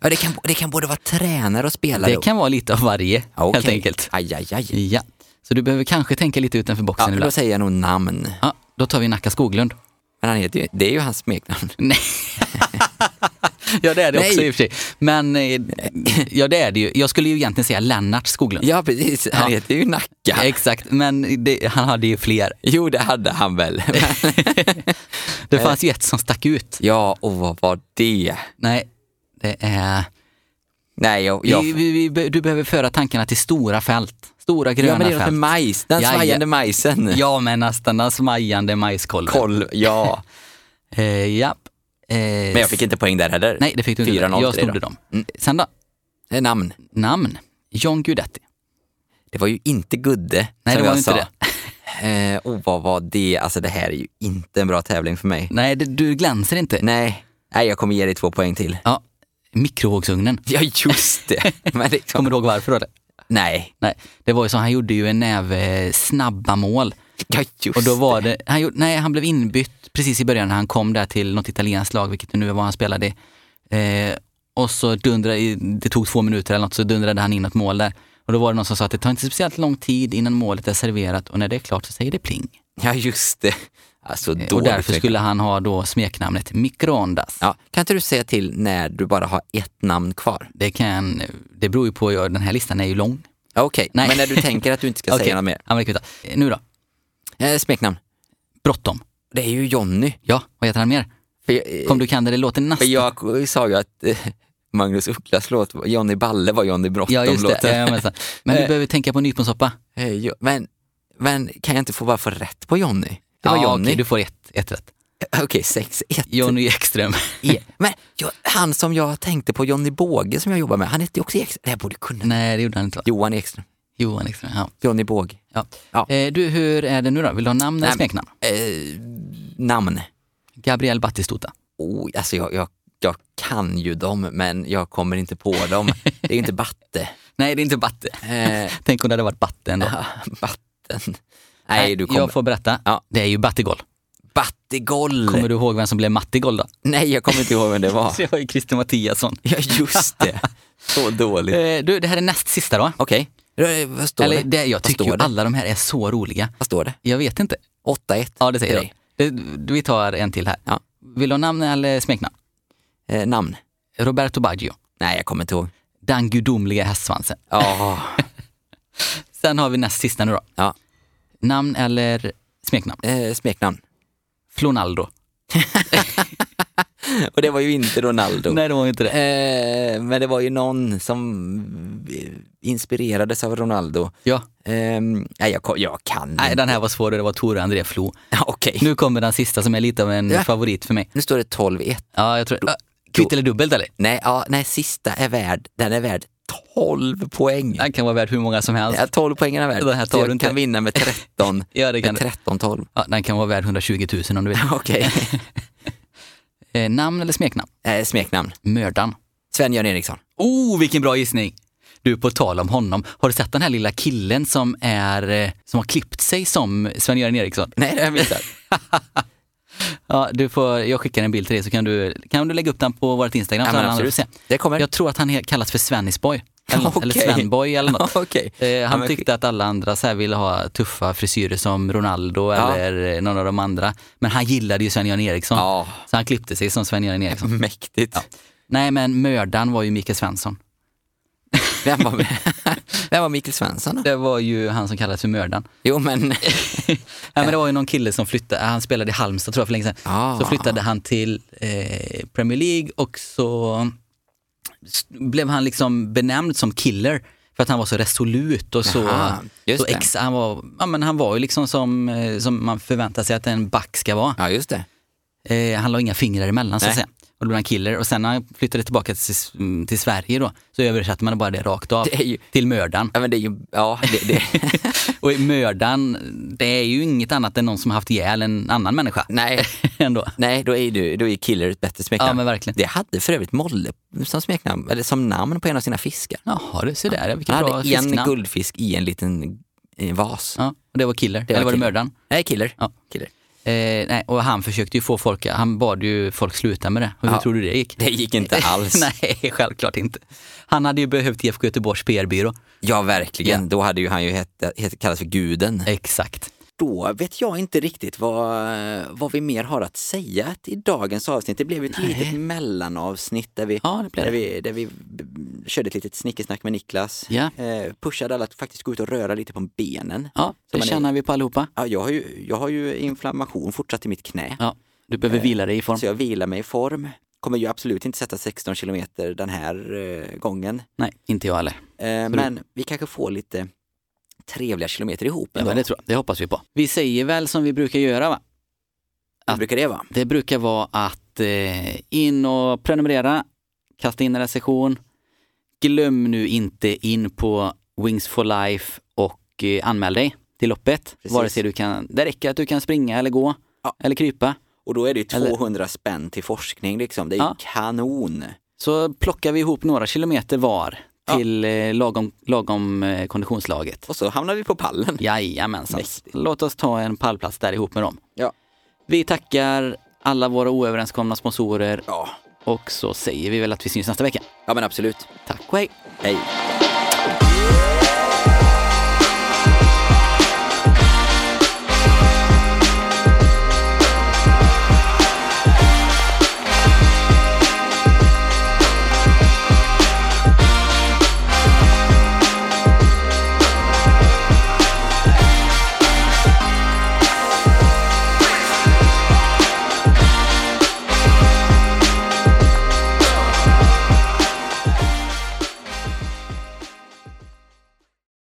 Speaker 3: Ja, det, kan, det kan både vara tränare och spelare.
Speaker 2: det kan vara lite av varje,
Speaker 3: Ja, okej.
Speaker 2: helt enkelt.
Speaker 3: Aj, aj, aj.
Speaker 2: Ja. Så du behöver kanske tänka lite utanför
Speaker 3: Ja,
Speaker 2: boxen
Speaker 3: då
Speaker 2: ibland.
Speaker 3: säger jag nog namn.
Speaker 2: Ja, då tar vi Nacka Skoglund.
Speaker 3: Men han heter ju, det är ju hans smeknamn.
Speaker 2: Nej. ja, det är det också
Speaker 3: Nej.
Speaker 2: i och för sig. Men eh, ja, det är det ju. Jag skulle ju egentligen säga Lennart Skoglund.
Speaker 3: Ja, precis. Han
Speaker 2: Ja.
Speaker 3: heter ju Nacka.
Speaker 2: Exakt, men det, han hade ju fler.
Speaker 3: Jo, det hade han väl.
Speaker 2: Det fanns ju ett som stack ut.
Speaker 3: ja, och vad var det?
Speaker 2: Nej, det är...
Speaker 3: Nej, jag... jag
Speaker 2: Vi, vi, vi, be- du behöver föra tankarna till stora fält. Stora gröna
Speaker 3: ja, men det är något med
Speaker 2: fält.
Speaker 3: majs. Den
Speaker 2: Ja, ja.
Speaker 3: svajande majsen.
Speaker 2: Ja, men nästan den smajande majskolven.
Speaker 3: Koll, ja.
Speaker 2: Eh, japp. Eh,
Speaker 3: Men jag fick inte poäng där heller.
Speaker 2: Nej, det fick du inte.
Speaker 3: 4-0
Speaker 2: Jag
Speaker 3: till dig
Speaker 2: snodde
Speaker 3: då.
Speaker 2: dem. Mm. Sen då?
Speaker 3: Det är namn.
Speaker 2: Namn? John Guidetti.
Speaker 3: Det var ju inte Gudde,
Speaker 2: Nej,
Speaker 3: som
Speaker 2: det var
Speaker 3: jag
Speaker 2: inte
Speaker 3: sa.
Speaker 2: det.
Speaker 3: Eh, och vad var det? Alltså det här är ju inte en bra tävling för mig.
Speaker 2: Nej, det, du glänser inte.
Speaker 3: Nej, Nej jag kommer ge dig två poäng till.
Speaker 2: Ja, mikrovågsugnen.
Speaker 3: Ja, just det. Men liksom,
Speaker 2: Kommer du ihåg varför? Då?
Speaker 3: Nej.
Speaker 2: Nej, det var ju så, han gjorde ju en näve snabba mål.
Speaker 3: Ja, just
Speaker 2: Och då var det, han gjorde, nej han blev inbytt precis i början när han kom där till något italienskt lag, vilket det nu var han spelade i. Eh, och så dundrade, i- det tog två minuter eller något, så dundrade han in ett mål där. Och då var det någon som sa att det tar inte speciellt lång tid innan målet är serverat och när det är klart så säger det pling.
Speaker 3: Ja, just det. Alltså,
Speaker 2: Eh, och
Speaker 3: dåligt
Speaker 2: därför
Speaker 3: räknat.
Speaker 2: skulle han ha då smeknamnet Microondas.
Speaker 3: Ja, kan inte du säga till när du bara har ett namn kvar?
Speaker 2: Det, kan, det beror ju på, ja, den här listan är ju lång.
Speaker 3: Ja, Okej,
Speaker 2: Nej.
Speaker 3: men när du tänker att du inte ska
Speaker 2: Okej,
Speaker 3: säga något mer.
Speaker 2: ja, men det kvittar. Eh, Nu då,
Speaker 3: Eh, smeknamn.
Speaker 2: bråttom.
Speaker 3: Det är ju Jonny.
Speaker 2: Ja, vad heter han mer?
Speaker 3: För jag, eh,
Speaker 2: Kom du kan det, det låter
Speaker 3: för
Speaker 2: nästan...
Speaker 3: jag sa ju att eh, Magnus Ugglas låt, var- Johnny Balle var Johnny
Speaker 2: ja, just det.
Speaker 3: Bråttom-låten.
Speaker 2: Ja, men, men du behöver tänka på nyponsoppa.
Speaker 3: Eh, jo, men, men kan jag inte få bara få rätt på Jonny? Det var
Speaker 2: ja,
Speaker 3: Jonny.
Speaker 2: okej, du får ett, ett rätt.
Speaker 3: Okej, 6-1.
Speaker 2: Jonny Ekström.
Speaker 3: Ja. Men jag, han som jag tänkte på, Jonny Båge som jag jobbar med, han heter ju också Ekström. Det här borde kunna.
Speaker 2: Nej, det gjorde han inte. va?
Speaker 3: Johan Ekström.
Speaker 2: Johan Ekström, ja.
Speaker 3: Jonny Båge.
Speaker 2: ja.
Speaker 3: Ja.
Speaker 2: Eh, du, hur är det nu då? Vill du ha namn eller
Speaker 3: Nej, men-
Speaker 2: smeknamn?
Speaker 3: Eh, namn.
Speaker 2: Gabriel Batistuta.
Speaker 3: Oh, alltså jag, jag, jag kan ju dem, men jag kommer inte på dem. Det är ju inte Batte.
Speaker 2: Nej, det är inte Batte.
Speaker 3: Eh,
Speaker 2: Tänk om det hade varit Batte ändå.
Speaker 3: batten. Nej, du kommer...
Speaker 2: Jag får berätta.
Speaker 3: Ja.
Speaker 2: Det är ju Battigol.
Speaker 3: Battegoll!
Speaker 2: Kommer du ihåg vem som blev Mattigol då?
Speaker 3: Nej, jag kommer inte ihåg vem det var.
Speaker 2: Det var ju Christer Mattiasson.
Speaker 3: Ja, just det. Så dåligt.
Speaker 2: Eh, du, det här är näst sista då.
Speaker 3: Okej. Eh, Vad står
Speaker 2: Eller,
Speaker 3: det?
Speaker 2: det, jag
Speaker 3: Vad
Speaker 2: tycker
Speaker 3: står
Speaker 2: ju
Speaker 3: det?
Speaker 2: alla de här är så roliga.
Speaker 3: Vad står det?
Speaker 2: Jag vet inte.
Speaker 3: 8-1.
Speaker 2: Ja, det säger
Speaker 3: Till
Speaker 2: jag. Det- Vi tar en till här.
Speaker 3: Ja.
Speaker 2: Vill du ha namn eller smeknamn?
Speaker 3: Eh, namn?
Speaker 2: Roberto Baggio.
Speaker 3: Nej, jag kommer inte ihåg.
Speaker 2: Den gudomliga hästsvansen.
Speaker 3: Ja,
Speaker 2: Sen har vi näst sista nu då.
Speaker 3: Ja.
Speaker 2: Namn eller smeknamn?
Speaker 3: eh, smeknamn.
Speaker 2: Flonaldo.
Speaker 3: Och det var ju inte Ronaldo.
Speaker 2: Nej, det var inte det.
Speaker 3: Eh, men det var ju någon som eh, inspirerades av Ronaldo.
Speaker 2: Ja.
Speaker 3: Eh, nej, jag, ko- jag kan
Speaker 2: Nej,
Speaker 3: inte.
Speaker 2: den här var svår och det var Tore André Flo.
Speaker 3: Ja, Okej.
Speaker 2: Nu kommer den sista som är lite av en
Speaker 3: Ja.
Speaker 2: favorit för mig.
Speaker 3: Nu står det 12-1.
Speaker 2: Ja, jag tror... Äh, Kvitt eller dubbelt eller?
Speaker 3: Nej, ja, nej, sista är värd, den är värd 12 poäng.
Speaker 2: Den kan vara värd hur många som helst.
Speaker 3: Ja, 12 poäng är värd.
Speaker 2: Den här tar
Speaker 3: Så jag
Speaker 2: du inte.
Speaker 3: kan vinna med 13.
Speaker 2: Ja, det kan
Speaker 3: med
Speaker 2: du.
Speaker 3: 13-12.
Speaker 2: Ja, den kan vara värd 120 000 om du vill.
Speaker 3: Okej.
Speaker 2: Eh, namn eller smeknamn?
Speaker 3: Eh, smeknamn.
Speaker 2: Mördan.
Speaker 3: Sven-Göran Eriksson.
Speaker 2: Oh, vilken bra gissning! Du, på tal om honom, har du sett den här lilla killen som är, eh, som har klippt sig som Sven-Göran Eriksson?
Speaker 3: Nej, det har jag missat.
Speaker 2: Ja, du får, jag skickar en bild till dig så kan du, kan du lägga upp den på vårt Instagram
Speaker 3: Ja,
Speaker 2: så
Speaker 3: men
Speaker 2: alla andra får
Speaker 3: absolut.
Speaker 2: se.
Speaker 3: Det kommer.
Speaker 2: Jag tror att han he- kallas för Svennisboy. Eller, något, eller
Speaker 3: Okej.
Speaker 2: Svenboy eller något.
Speaker 3: Okej.
Speaker 2: Eh,
Speaker 3: Ja,
Speaker 2: han
Speaker 3: men-
Speaker 2: tyckte att alla andra så här ville ha tuffa frisyrer som Ronaldo
Speaker 3: Ja.
Speaker 2: eller eh, någon av de andra. Men han gillade ju Sven-Göran Eriksson.
Speaker 3: Ja. Mm.
Speaker 2: Så han klippte sig som Sven-Göran Eriksson.
Speaker 3: Mäktigt.
Speaker 2: Nej men mördaren var ju Mikael Svensson.
Speaker 3: Vem, var, vem var Mikael Svensson då?
Speaker 2: Det var ju han som kallades för mördaren.
Speaker 3: Jo, men...
Speaker 2: Ja, men det var ju någon kille som flyttade, han spelade i Halmstad tror jag för länge sedan.
Speaker 3: Ah.
Speaker 2: Så flyttade han till eh, Premier League och så s- blev han liksom benämnd som killer för att han var så resolut och så,
Speaker 3: Jaha, just
Speaker 2: så
Speaker 3: det.
Speaker 2: ex, han, var, ja, men han var ju liksom som, eh, som man förväntar sig att en back ska vara.
Speaker 3: Ja, just det.
Speaker 2: Eh, han la inga fingrar emellan så att
Speaker 3: Nej.
Speaker 2: säga. Och då blev han killer och sen när han flyttade tillbaka till, s- mm, till Sverige då så översatte man bara det rakt av
Speaker 3: Det är ju-
Speaker 2: till mördaren.
Speaker 3: Ja, men det är ju... Ja, det, det.
Speaker 2: Och mördaren, det är ju inget annat än någon som har haft ihjäl en annan människa.
Speaker 3: Nej.
Speaker 2: Ändå.
Speaker 3: Nej, då är, du, då är killer ett bättre smeknamn.
Speaker 2: Ja, men verkligen.
Speaker 3: Det hade för övrigt Molle som smeknamn, eller som namn på en av sina fiskar.
Speaker 2: Jaha, du ser där. ja, Vilket
Speaker 3: Han
Speaker 2: bra
Speaker 3: hade en
Speaker 2: fisknamn.
Speaker 3: guldfisk i en liten eh, vas.
Speaker 2: Ja, och det var killer.
Speaker 3: Det var
Speaker 2: Eller var det
Speaker 3: killer.
Speaker 2: mördaren?
Speaker 3: Nej, killer.
Speaker 2: Ja.
Speaker 3: killer.
Speaker 2: Eh, nej, och han försökte ju få folk, han bad ju folk sluta med det. Och hur
Speaker 3: Ja.
Speaker 2: tror du det gick?
Speaker 3: Det gick inte alls.
Speaker 2: nej, självklart inte. Han hade ju behövt IFK Göteborgs PR-byrå.
Speaker 3: Ja, verkligen. Då hade ju han ju hett, hett, kallats för guden.
Speaker 2: Exakt.
Speaker 3: Då vet jag inte riktigt vad, vad vi mer har att säga i dagens avsnitt. Det blev ju ett litet mellanavsnitt där vi,
Speaker 2: Ja, det blev
Speaker 3: där
Speaker 2: det.
Speaker 3: vi, där vi b- b- körde ett litet snickesnack med Niklas.
Speaker 2: Ja.
Speaker 3: Eh, pushade alla att faktiskt gå ut och röra lite på benen.
Speaker 2: Ja, det
Speaker 3: man är-
Speaker 2: tjänar vi på allihopa.
Speaker 3: Ja, jag, har ju, jag har ju inflammation fortsatt i mitt knä.
Speaker 2: Ja, du behöver vila dig i form.
Speaker 3: Så jag vilar mig i form. Kommer ju absolut inte sätta 16 kilometer den här eh, gången.
Speaker 2: Nej, inte jag heller.
Speaker 3: Eh, men vi kanske får lite trevliga kilometer ihop.
Speaker 2: Ja,
Speaker 3: ändå.
Speaker 2: men det, tror jag. det hoppas vi på. Vi säger väl som vi brukar göra va?
Speaker 3: Hur brukar det vara?
Speaker 2: Det brukar vara att eh, in och prenumerera, kasta in en recension. Glöm nu inte in på Wings for Life och eh, anmäl dig till loppet.
Speaker 3: Precis.
Speaker 2: Vare sig du kan, det räcker att du kan springa eller gå
Speaker 3: Ja.
Speaker 2: eller krypa.
Speaker 3: Och då är det ju
Speaker 2: Eller-
Speaker 3: 200 spänn till forskning liksom. Det är ju
Speaker 2: Ja.
Speaker 3: kanon.
Speaker 2: Så plockar vi ihop några kilometer var
Speaker 3: Ja.
Speaker 2: till eh, lagom, lagom eh, konditionslaget.
Speaker 3: Och så hamnar vi på pallen.
Speaker 2: Jajamensan.
Speaker 3: Mäktigt.
Speaker 2: Låt oss ta en pallplats där ihop med dem.
Speaker 3: Ja.
Speaker 2: Vi tackar alla våra oöverenskomna sponsorer
Speaker 3: Ja,
Speaker 2: och så säger vi väl att vi syns nästa vecka.
Speaker 3: ja men absolut.
Speaker 2: Tack och hej!
Speaker 3: Hej.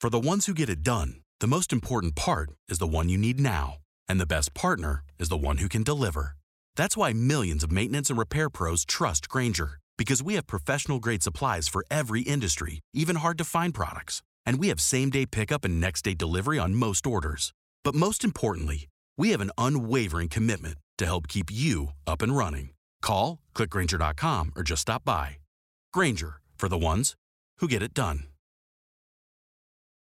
Speaker 7: For the ones who get it done, the most important part is the one you need now. And the best partner is the one who can deliver. That's why millions of maintenance and repair pros trust Granger, because we have professional grade supplies for every industry, even hard to find products. And we have same day pickup and next day delivery on most orders. But most importantly, we have an unwavering commitment to help keep you up and running. Call, click Grainger.com, or just stop by. Granger, for the ones who get it done.